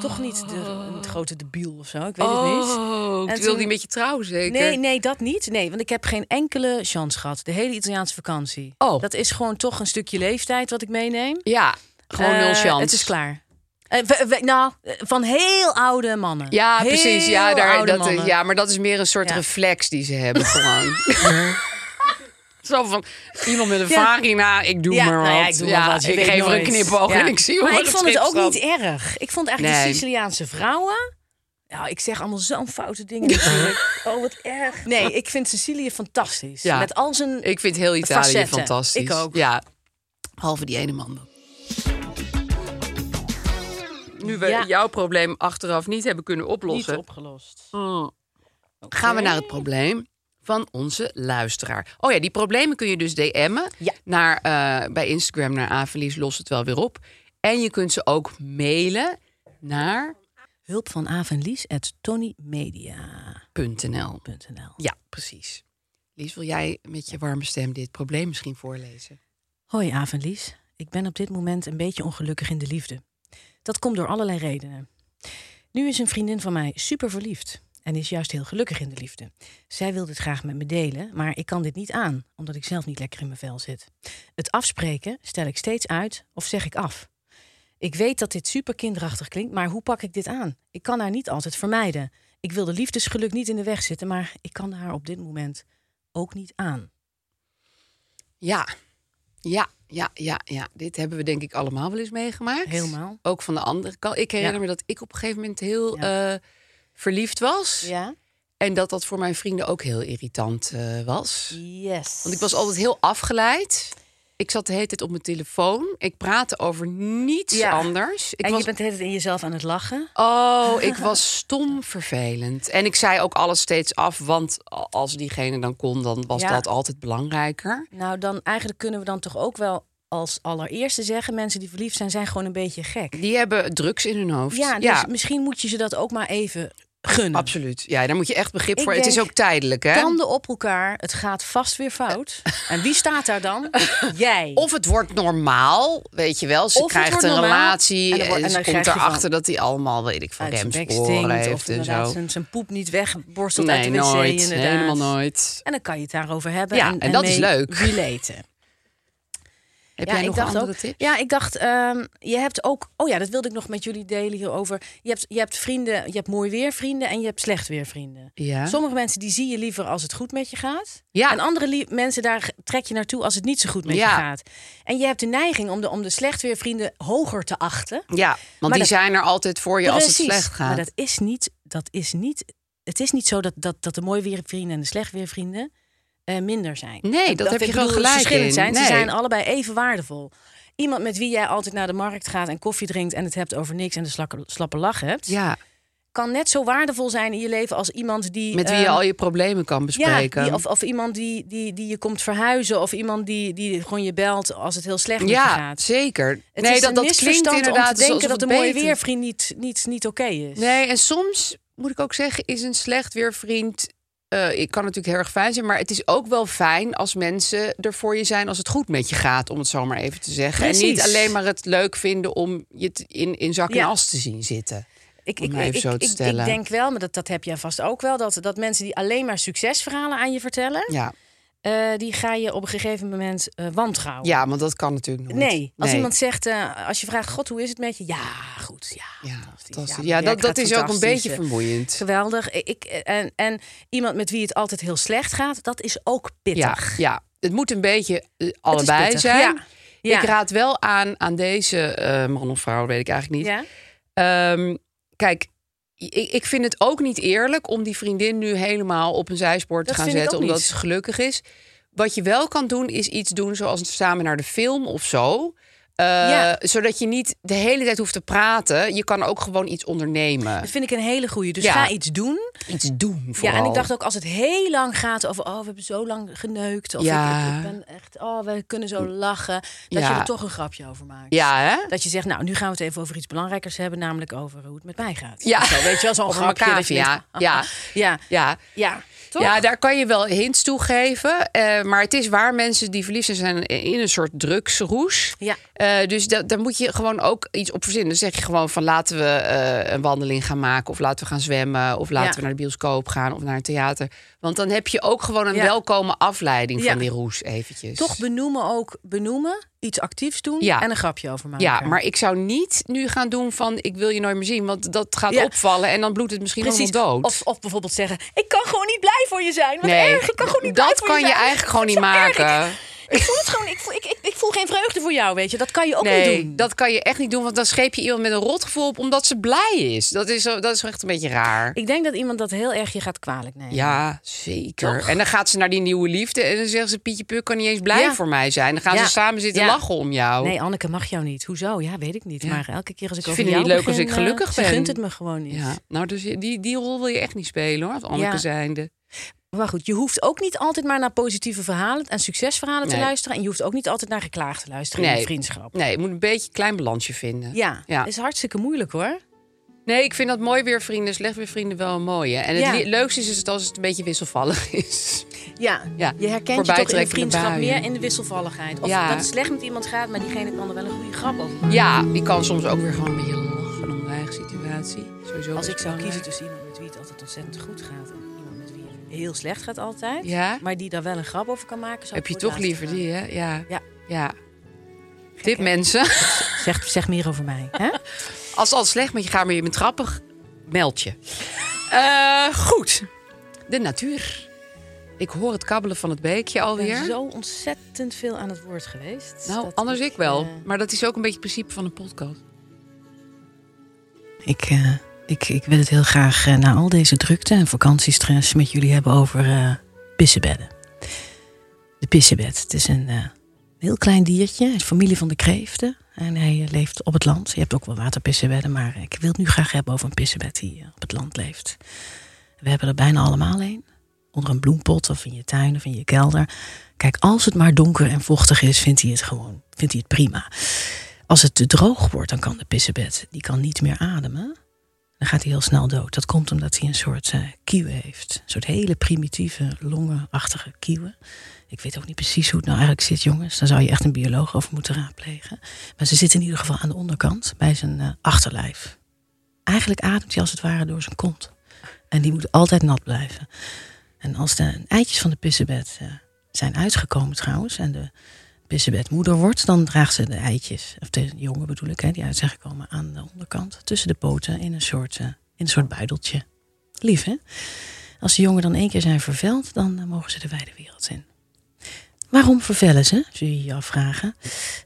toch niet de, een grote debiel of zo. Ik weet het niet.
Oh,
En
het wil
toen-
niet met je trouwen zeker?
Nee, nee, dat niet. Nee, want ik heb geen enkele chance gehad. De hele Italiaanse vakantie.
Oh.
Dat is gewoon toch een stukje leeftijd wat ik meeneem.
Ja, gewoon nul
Eh,
chance.
Het is klaar. Eh, we- we- nou, eh, van heel oude mannen.
Ja,
Heel
precies. Ja, daar,
oude
dat, eh,
mannen.
ja, maar dat is meer een soort
Ja.
reflex die ze hebben gewoon. Zo van, iemand met een
Ja.
varina, ik doe
Ja,
maar wat.
nou ja, ik doe maar wat. Je
ik
weet
geef er een
nooit.
knipoog
Ja.
en ik zie
Maar
hoe
ik
het
vond het
schip
ook niet
staat.
erg. Ik vond eigenlijk
Nee.
de Siciliaanse vrouwen... Nou, ik zeg allemaal zo'n foute dingen natuurlijk. oh, wat erg. Nee, ik vind Sicilië fantastisch.
Ja.
Met al zijn...
Ik vind heel Italië
Facetten.
fantastisch.
Ik ook.
Ja, halve die ene man dan. Nu we
Ja.
jouw probleem achteraf niet hebben kunnen oplossen...
Niet opgelost.
gaan we naar het probleem van onze luisteraar. Oh ja, die problemen kun je dus DM'en
Ja.
naar, eh, bij Instagram naar Avelies. Los het wel weer op. En je kunt ze ook mailen naar
Hulp van Avenlies at tonymedia.nl
.nl. Ja, precies. Lies, wil jij met je warme stem dit probleem misschien voorlezen?
Hoi Avenlies, ik ben op dit moment een beetje ongelukkig in de liefde. Dat komt door allerlei redenen. Nu is een vriendin van mij super verliefd en is juist heel gelukkig in de liefde. Zij wil dit graag met me delen, maar ik kan dit niet aan, omdat ik zelf niet lekker in mijn vel zit. Het afspreken stel ik steeds uit of zeg ik af. Ik weet dat dit super kinderachtig klinkt, maar hoe pak ik dit aan? Ik kan haar niet altijd vermijden. Ik wil de liefdesgeluk niet in de weg zitten, maar ik kan haar op dit moment ook niet aan.
Ja. Ja, ja, ja, ja. Dit hebben we denk ik allemaal wel eens meegemaakt.
Helemaal.
Ook van de andere kant. Ik herinner
Ja.
me dat ik op een gegeven moment heel
Ja.
eh, verliefd was.
Ja?
En dat dat voor mijn vrienden ook heel irritant eh, was.
Yes.
Want ik was altijd heel afgeleid. Ik zat de hele tijd op mijn telefoon. Ik praatte over niets
Ja.
anders. Ik
en
was,
je bent de hele tijd in jezelf aan het lachen.
Oh, ik was stom vervelend. En ik zei ook alles steeds af, want a- als diegene dan kon, dan was
Ja.
dat altijd belangrijker.
Nou, dan eigenlijk kunnen we dan toch ook wel als allereerste zeggen: mensen die verliefd zijn, zijn gewoon een beetje gek.
Die hebben drugs in hun hoofd.
Ja, dus misschien moet je ze dat ook maar even gunnen.
absoluut. Ja, daar moet je echt begrip
Ik
voor. het is
denk-
ook tijdelijk, hè?
Tanden op elkaar, het gaat vast weer fout. En wie staat daar dan? Jij.
Of het wordt normaal, weet je wel. Ze
Of het
krijgt
wordt
een
normaal,
relatie
en
en,
dan wordt- en
ze
dan
komt
krijg je
erachter
van-
dat hij allemaal, weet ik van
uit zijn bek
remsporen
stinkt, of
heeft en
inderdaad
zo.
zijn, zijn poep niet wegborstelt uit
Nee,
de wc.
nooit.
inderdaad.
Helemaal nooit.
En dan kan je het daarover hebben.
Ja,
en,
en dat is
mee
leuk.
Relaten.
Heb
ja,
jij
ik
nog
dacht
andere
ook,
tips?
Ja, ik dacht, ehm, je hebt ook... Oh ja, dat wilde ik nog met jullie delen hierover. Je hebt, je hebt vrienden, je hebt mooi weer vrienden en je hebt slecht weer vrienden.
Ja.
Sommige mensen die zie je liever als het goed met je gaat.
Ja.
En andere lie- mensen daar g- trek je naartoe als het niet zo goed met
Ja.
je gaat. En je hebt de neiging om de, om de slecht weer vrienden hoger te achten.
Ja, want die
dat-
zijn er altijd voor je als het
Precies.
slecht gaat.
Maar dat is niet, dat is niet, het is niet zo dat, dat, dat de mooi weer vrienden en de slecht weer vrienden eh, minder zijn.
Nee, dat heb
ik
je wel
bedoel, dat ze
gelijk
verschillend
in.
zijn. Ze
Nee.
zijn allebei even waardevol. Iemand met wie jij altijd naar de markt gaat en koffie drinkt en het hebt over niks en de slakke, slappe lach hebt,
Ja,
kan net zo waardevol zijn in je leven als iemand die
met wie je
ehm,
al je problemen kan bespreken.
ja, die- of, of iemand die, die, die je komt verhuizen. Of iemand die, die gewoon je belt als het heel slecht met je
Ja,
gaat.
zeker.
Het
nee,
is
dat,
een
dat klinkt
misverstand
inderdaad
om te denken
alsof
dat
het
een mooie
beter-
weervriend niet, niet, niet oké is.
Nee, en soms moet ik ook zeggen, is een slecht weervriend. eh ik kan natuurlijk heel erg fijn zijn, maar het is ook wel fijn als mensen er voor je zijn als het goed met je gaat, om het zo maar even te zeggen. En niet
Precies.
alleen maar het leuk vinden om je t- in, in zak en
Ja.
as te zien zitten.
ik,
om maar even zo te
ik,
stellen.
Ik denk wel, maar dat, dat heb jij vast ook wel, dat, dat mensen die alleen maar succesverhalen aan je vertellen,
Ja,
eh, die ga je op een gegeven moment eh, wantrouwen.
ja want dat kan natuurlijk nooit.
Nee, als iemand zegt, eh, als je vraagt, God, hoe is het met je? Ja, goed, ja,
Ja,
fantastisch.
fantastisch.
mijn
Ja,
werk
dat, dat
gaat
is ook een
fantastisch.
beetje vermoeiend.
Geweldig. Ik, en, en iemand met wie het altijd heel slecht gaat, dat is ook
Ja,
pittig.
ja, het moet een beetje eh, allebei
pittig,
zijn.
ja. Ja.
Ik raad wel aan aan deze eh, man of vrouw, weet ik eigenlijk niet.
Ja?
Ehm, kijk, ik, ik vind het ook niet eerlijk om die vriendin nu helemaal op een zijspoor te
Dat
gaan
vind ik
zetten,
ook
omdat
niet.
ze gelukkig is. Wat je wel kan doen, is iets doen zoals samen naar de film of zo. Eh,
Ja.
Zodat je niet de hele tijd hoeft te praten. Je kan ook gewoon iets ondernemen.
Dat vind ik een hele goeie. Dus
Ja.
ga iets doen.
Iets doen
Ja, en ik dacht ook als het heel lang gaat over oh we hebben zo lang geneukt of
Ja.
ik, ik ben echt oh we kunnen zo lachen dat
Ja.
je er toch een grapje over maakt.
Ja, hè?
Dat je zegt nou nu gaan we het even over iets belangrijkers hebben namelijk over hoe het met mij gaat.
Ja.
Of zo, weet je wel zo'n
Of een
grapje dat je
macavia.
denkt, ah,
Ja.
ah, ja,
Ja.
ja, toch?
Ja, daar kan je wel hints toe geven. eh, maar het is waar mensen die verliefd zijn, zijn in een soort drugsroes.
Ja.
Eh, dus da- daar moet je gewoon ook iets op verzinnen. Dan zeg je gewoon van laten we eh, een wandeling gaan maken. Of laten we gaan zwemmen. Of laten
Ja.
we naar de bioscoop gaan. Of naar een theater. Want dan heb je ook gewoon een
Ja.
welkome afleiding
Ja.
van die roes eventjes.
Toch benoemen ook benoemen, iets actiefs doen
Ja.
en een grapje over maken.
ja, maar ik zou niet nu gaan doen van ik wil je nooit meer zien. Want dat gaat
Ja.
opvallen en dan bloedt het misschien
Precies.
allemaal dood.
Of, of bijvoorbeeld zeggen: Ik kan gewoon niet blij voor je zijn. Wat erg, ik kan gewoon niet blij
dat
voor
kan je,
je zijn.
eigenlijk gewoon
Ik
niet
voel het zo
maken.
erg. Ik, ik voel het gewoon, ik voel, ik, ik, ik voel geen vreugde voor jou, weet je. Dat kan je ook niet doen.
dat kan je echt niet doen, want dan scheep je iemand met een rotgevoel op omdat ze blij is. Dat is, zo- dat is echt een beetje raar.
Ik denk dat iemand dat heel erg je gaat kwalijk nemen.
Ja, zeker. En dan gaat ze naar die nieuwe liefde en dan zegt ze: Pietje Puk kan niet eens blij
Ja.
voor mij zijn. Dan gaan
Ja.
ze samen zitten
Ja.
lachen om jou.
Nee, Anneke mag jou niet. Hoezo? Ja, weet ik niet. Maar elke keer als ik
Ze
over
vinden
jou
het niet leuk als
begin,
ik gelukkig
eh, ze
ben.
gunt het me gewoon niet.
ja. Nou, dus je- die, die rol wil je echt niet spelen hoor, als Anneke
Ja.
zijnde.
Maar goed, je hoeft ook niet altijd maar naar positieve verhalen en succesverhalen te
Nee.
luisteren. En je hoeft ook niet altijd naar geklaagd te luisteren in je vriendschap.
nee, je moet een beetje een klein balansje vinden.
Ja, is hartstikke moeilijk hoor.
Nee, ik vind dat mooi weer vrienden, slecht weer vrienden wel een mooie. En het
Ja.
li- leukste is het als het een beetje wisselvallig is.
Ja,
Ja,
je herkent je toch in de
voorbijtrekkende
vriendschap
buien.
meer in de wisselvalligheid. Of
Ja.
dat het slecht met iemand gaat, maar diegene kan er wel een goede grap over maken.
Ja, die kan soms ook weer gewoon een beetje lachen om de eigen situatie. Sowieso
Als
best
ik zou
belangrijk.
kiezen tussen iemand met wie het altijd ontzettend goed gaat... en iemand met wie het heel slecht gaat altijd...
Ja.
maar die daar wel een grap over kan maken... zou
Heb
ik
je
voor
toch
het
liever
laatste
die, hè? Ja.
Ja.
Tip mensen.
gaan. Zeg, zeg meer over mij. Hè?
Als het al slecht met je gaat, maar je bent grappig, meld je. Eh, goed. De natuur. Ik hoor het kabbelen van het beekje
Ik ben
alweer.
zo ontzettend veel aan het woord geweest.
Nou,
dat
anders ik wel.
eh,
Maar dat is ook een beetje het principe van een podcast.
Ik, eh, ik, ik wil het heel graag eh, na al deze drukte en vakantiestress met jullie hebben over eh, pissebedden. De pissebed. Het is een eh, heel klein diertje. Hij is familie van de kreeften. En hij eh, leeft op het land. Je hebt ook wel waterpissebedden, maar ik wil het nu graag hebben over een pissebed die eh, op het land leeft. We hebben er bijna allemaal een. Onder een bloempot of in je tuin of in je kelder. Kijk, als het maar donker en vochtig is, vindt hij het gewoon. Vindt hij het prima. Als het te droog wordt, dan kan de pissebed die kan niet meer ademen. Dan gaat hij heel snel dood. Dat komt omdat hij een soort eh kieuwen heeft. Een soort hele primitieve, longenachtige kieuwen. Ik weet ook niet precies hoe het nou eigenlijk zit, jongens. Daar zou je echt een bioloog over moeten raadplegen. Maar ze zitten in ieder geval aan de onderkant bij zijn eh, achterlijf. Eigenlijk ademt hij als het ware door zijn kont. En die moet altijd nat blijven. En als de eitjes van de pissebed eh, zijn uitgekomen trouwens... en de pissebed moeder wordt, dan draagt ze de eitjes, of de jongen bedoel ik, hè, die uit zijn gekomen aan de onderkant, tussen de poten in een soort, eh, in een soort buideltje. Lief, hè? Als de jongen dan één keer zijn verveld, dan eh, mogen ze de wijde wereld in. Waarom vervellen ze, zul je je afvragen?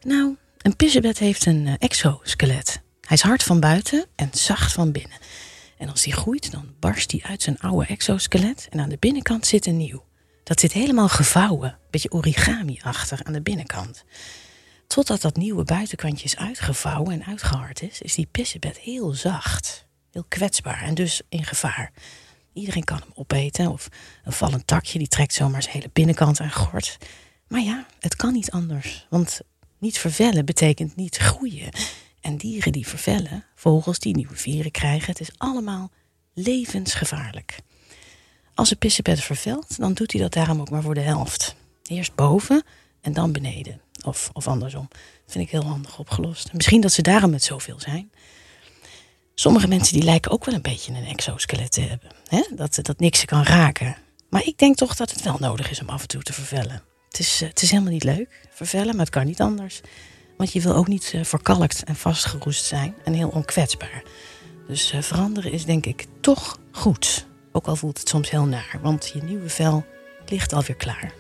Nou, een pissebed heeft een eh, exoskelet. Hij is hard van buiten en zacht van binnen. En als die groeit, dan barst hij uit zijn oude exoskelet en aan de binnenkant zit een nieuw. Dat zit helemaal gevouwen, beetje origami-achtig aan de binnenkant. Totdat dat nieuwe buitenkantje is uitgevouwen en uitgehard is, is die pissebed heel zacht, heel kwetsbaar en dus in gevaar. Iedereen kan hem opeten of een vallend takje die trekt zomaar zijn hele binnenkant aan gort. Maar ja, het kan niet anders, want niet vervellen betekent niet groeien. En dieren die vervellen, vogels die nieuwe vieren krijgen, het is allemaal levensgevaarlijk. Als een pissebed vervelt, dan doet hij dat daarom ook maar voor de helft. Eerst boven en dan beneden. Of, of andersom. Dat vind ik heel handig opgelost. En Misschien dat ze daarom met zoveel zijn. Sommige mensen die lijken ook wel een beetje een exoskelet te hebben. Hè? Dat, dat niks ze kan raken. Maar ik denk toch dat het wel nodig is om af en toe te vervellen. Het is, eh, het is helemaal niet leuk, vervellen, maar het kan niet anders. Want je wil ook niet eh, verkalkt en vastgeroest zijn en heel onkwetsbaar. Dus eh, veranderen is denk ik toch goed. Ook al voelt het soms heel naar, want je nieuwe vel ligt alweer klaar.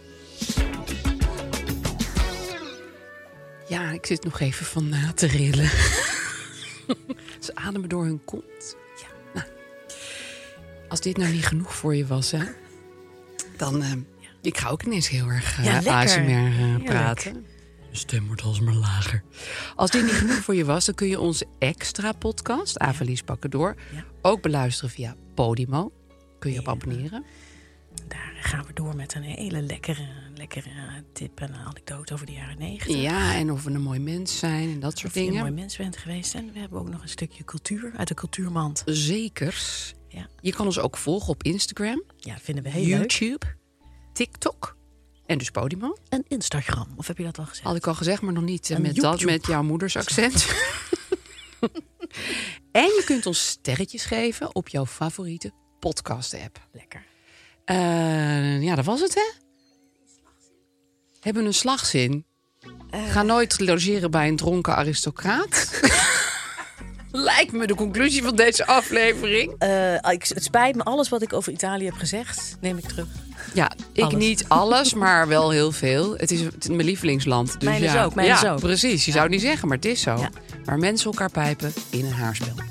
Ja, ik zit nog even van na te rillen. Ze ademen door hun kont. Ja. Nou, als dit nou niet genoeg voor je was, hè? Dan, eh, ik ga ook ineens heel erg eh,
Ja, lekker.
ASMR eh,
Heerlijk.
praten. Mijn stem wordt alsmaar lager. Als dit niet genoeg voor je was, dan kun je onze extra podcast, Avalies Pakken Door, ook beluisteren via Podimo. Kun je op abonneren.
Daar gaan we door met een hele lekkere, lekkere tip en anekdote over de jaren negentig.
Ja, en of we een mooi mens zijn en dat soort
Of je een mooi
dingen.
mens bent geweest. En we hebben ook nog een stukje cultuur uit de cultuurmand.
Zekers.
Ja,
Je kan ons ook volgen op Instagram,
ja dat vinden we heel leuk.
YouTube, TikTok en dus Podimo.
En Instagram, of heb je dat al gezegd?
Had ik al gezegd, maar nog niet eh,
En
met, dat,
YouTube.
met jouw moeders accent. en je kunt ons sterretjes geven op jouw favoriete podcast-app.
Lekker.
Eh, ja, dat was het, hè? Hebben een slagzin.
Eh.
Ga nooit logeren bij een dronken aristocraat. Lijkt me de conclusie van deze aflevering.
Eh, ik, het spijt me, alles wat ik over Italië heb gezegd, neem ik terug.
Ja, ik
Alles.
niet alles, maar wel heel veel. Het is, het is mijn lievelingsland. Dus
Mijn is
ja.
ook, mijn
ja,
is ook.
precies. Je zou het niet zeggen, maar het is zo.
Ja.
Waar mensen elkaar pijpen in een haarspel.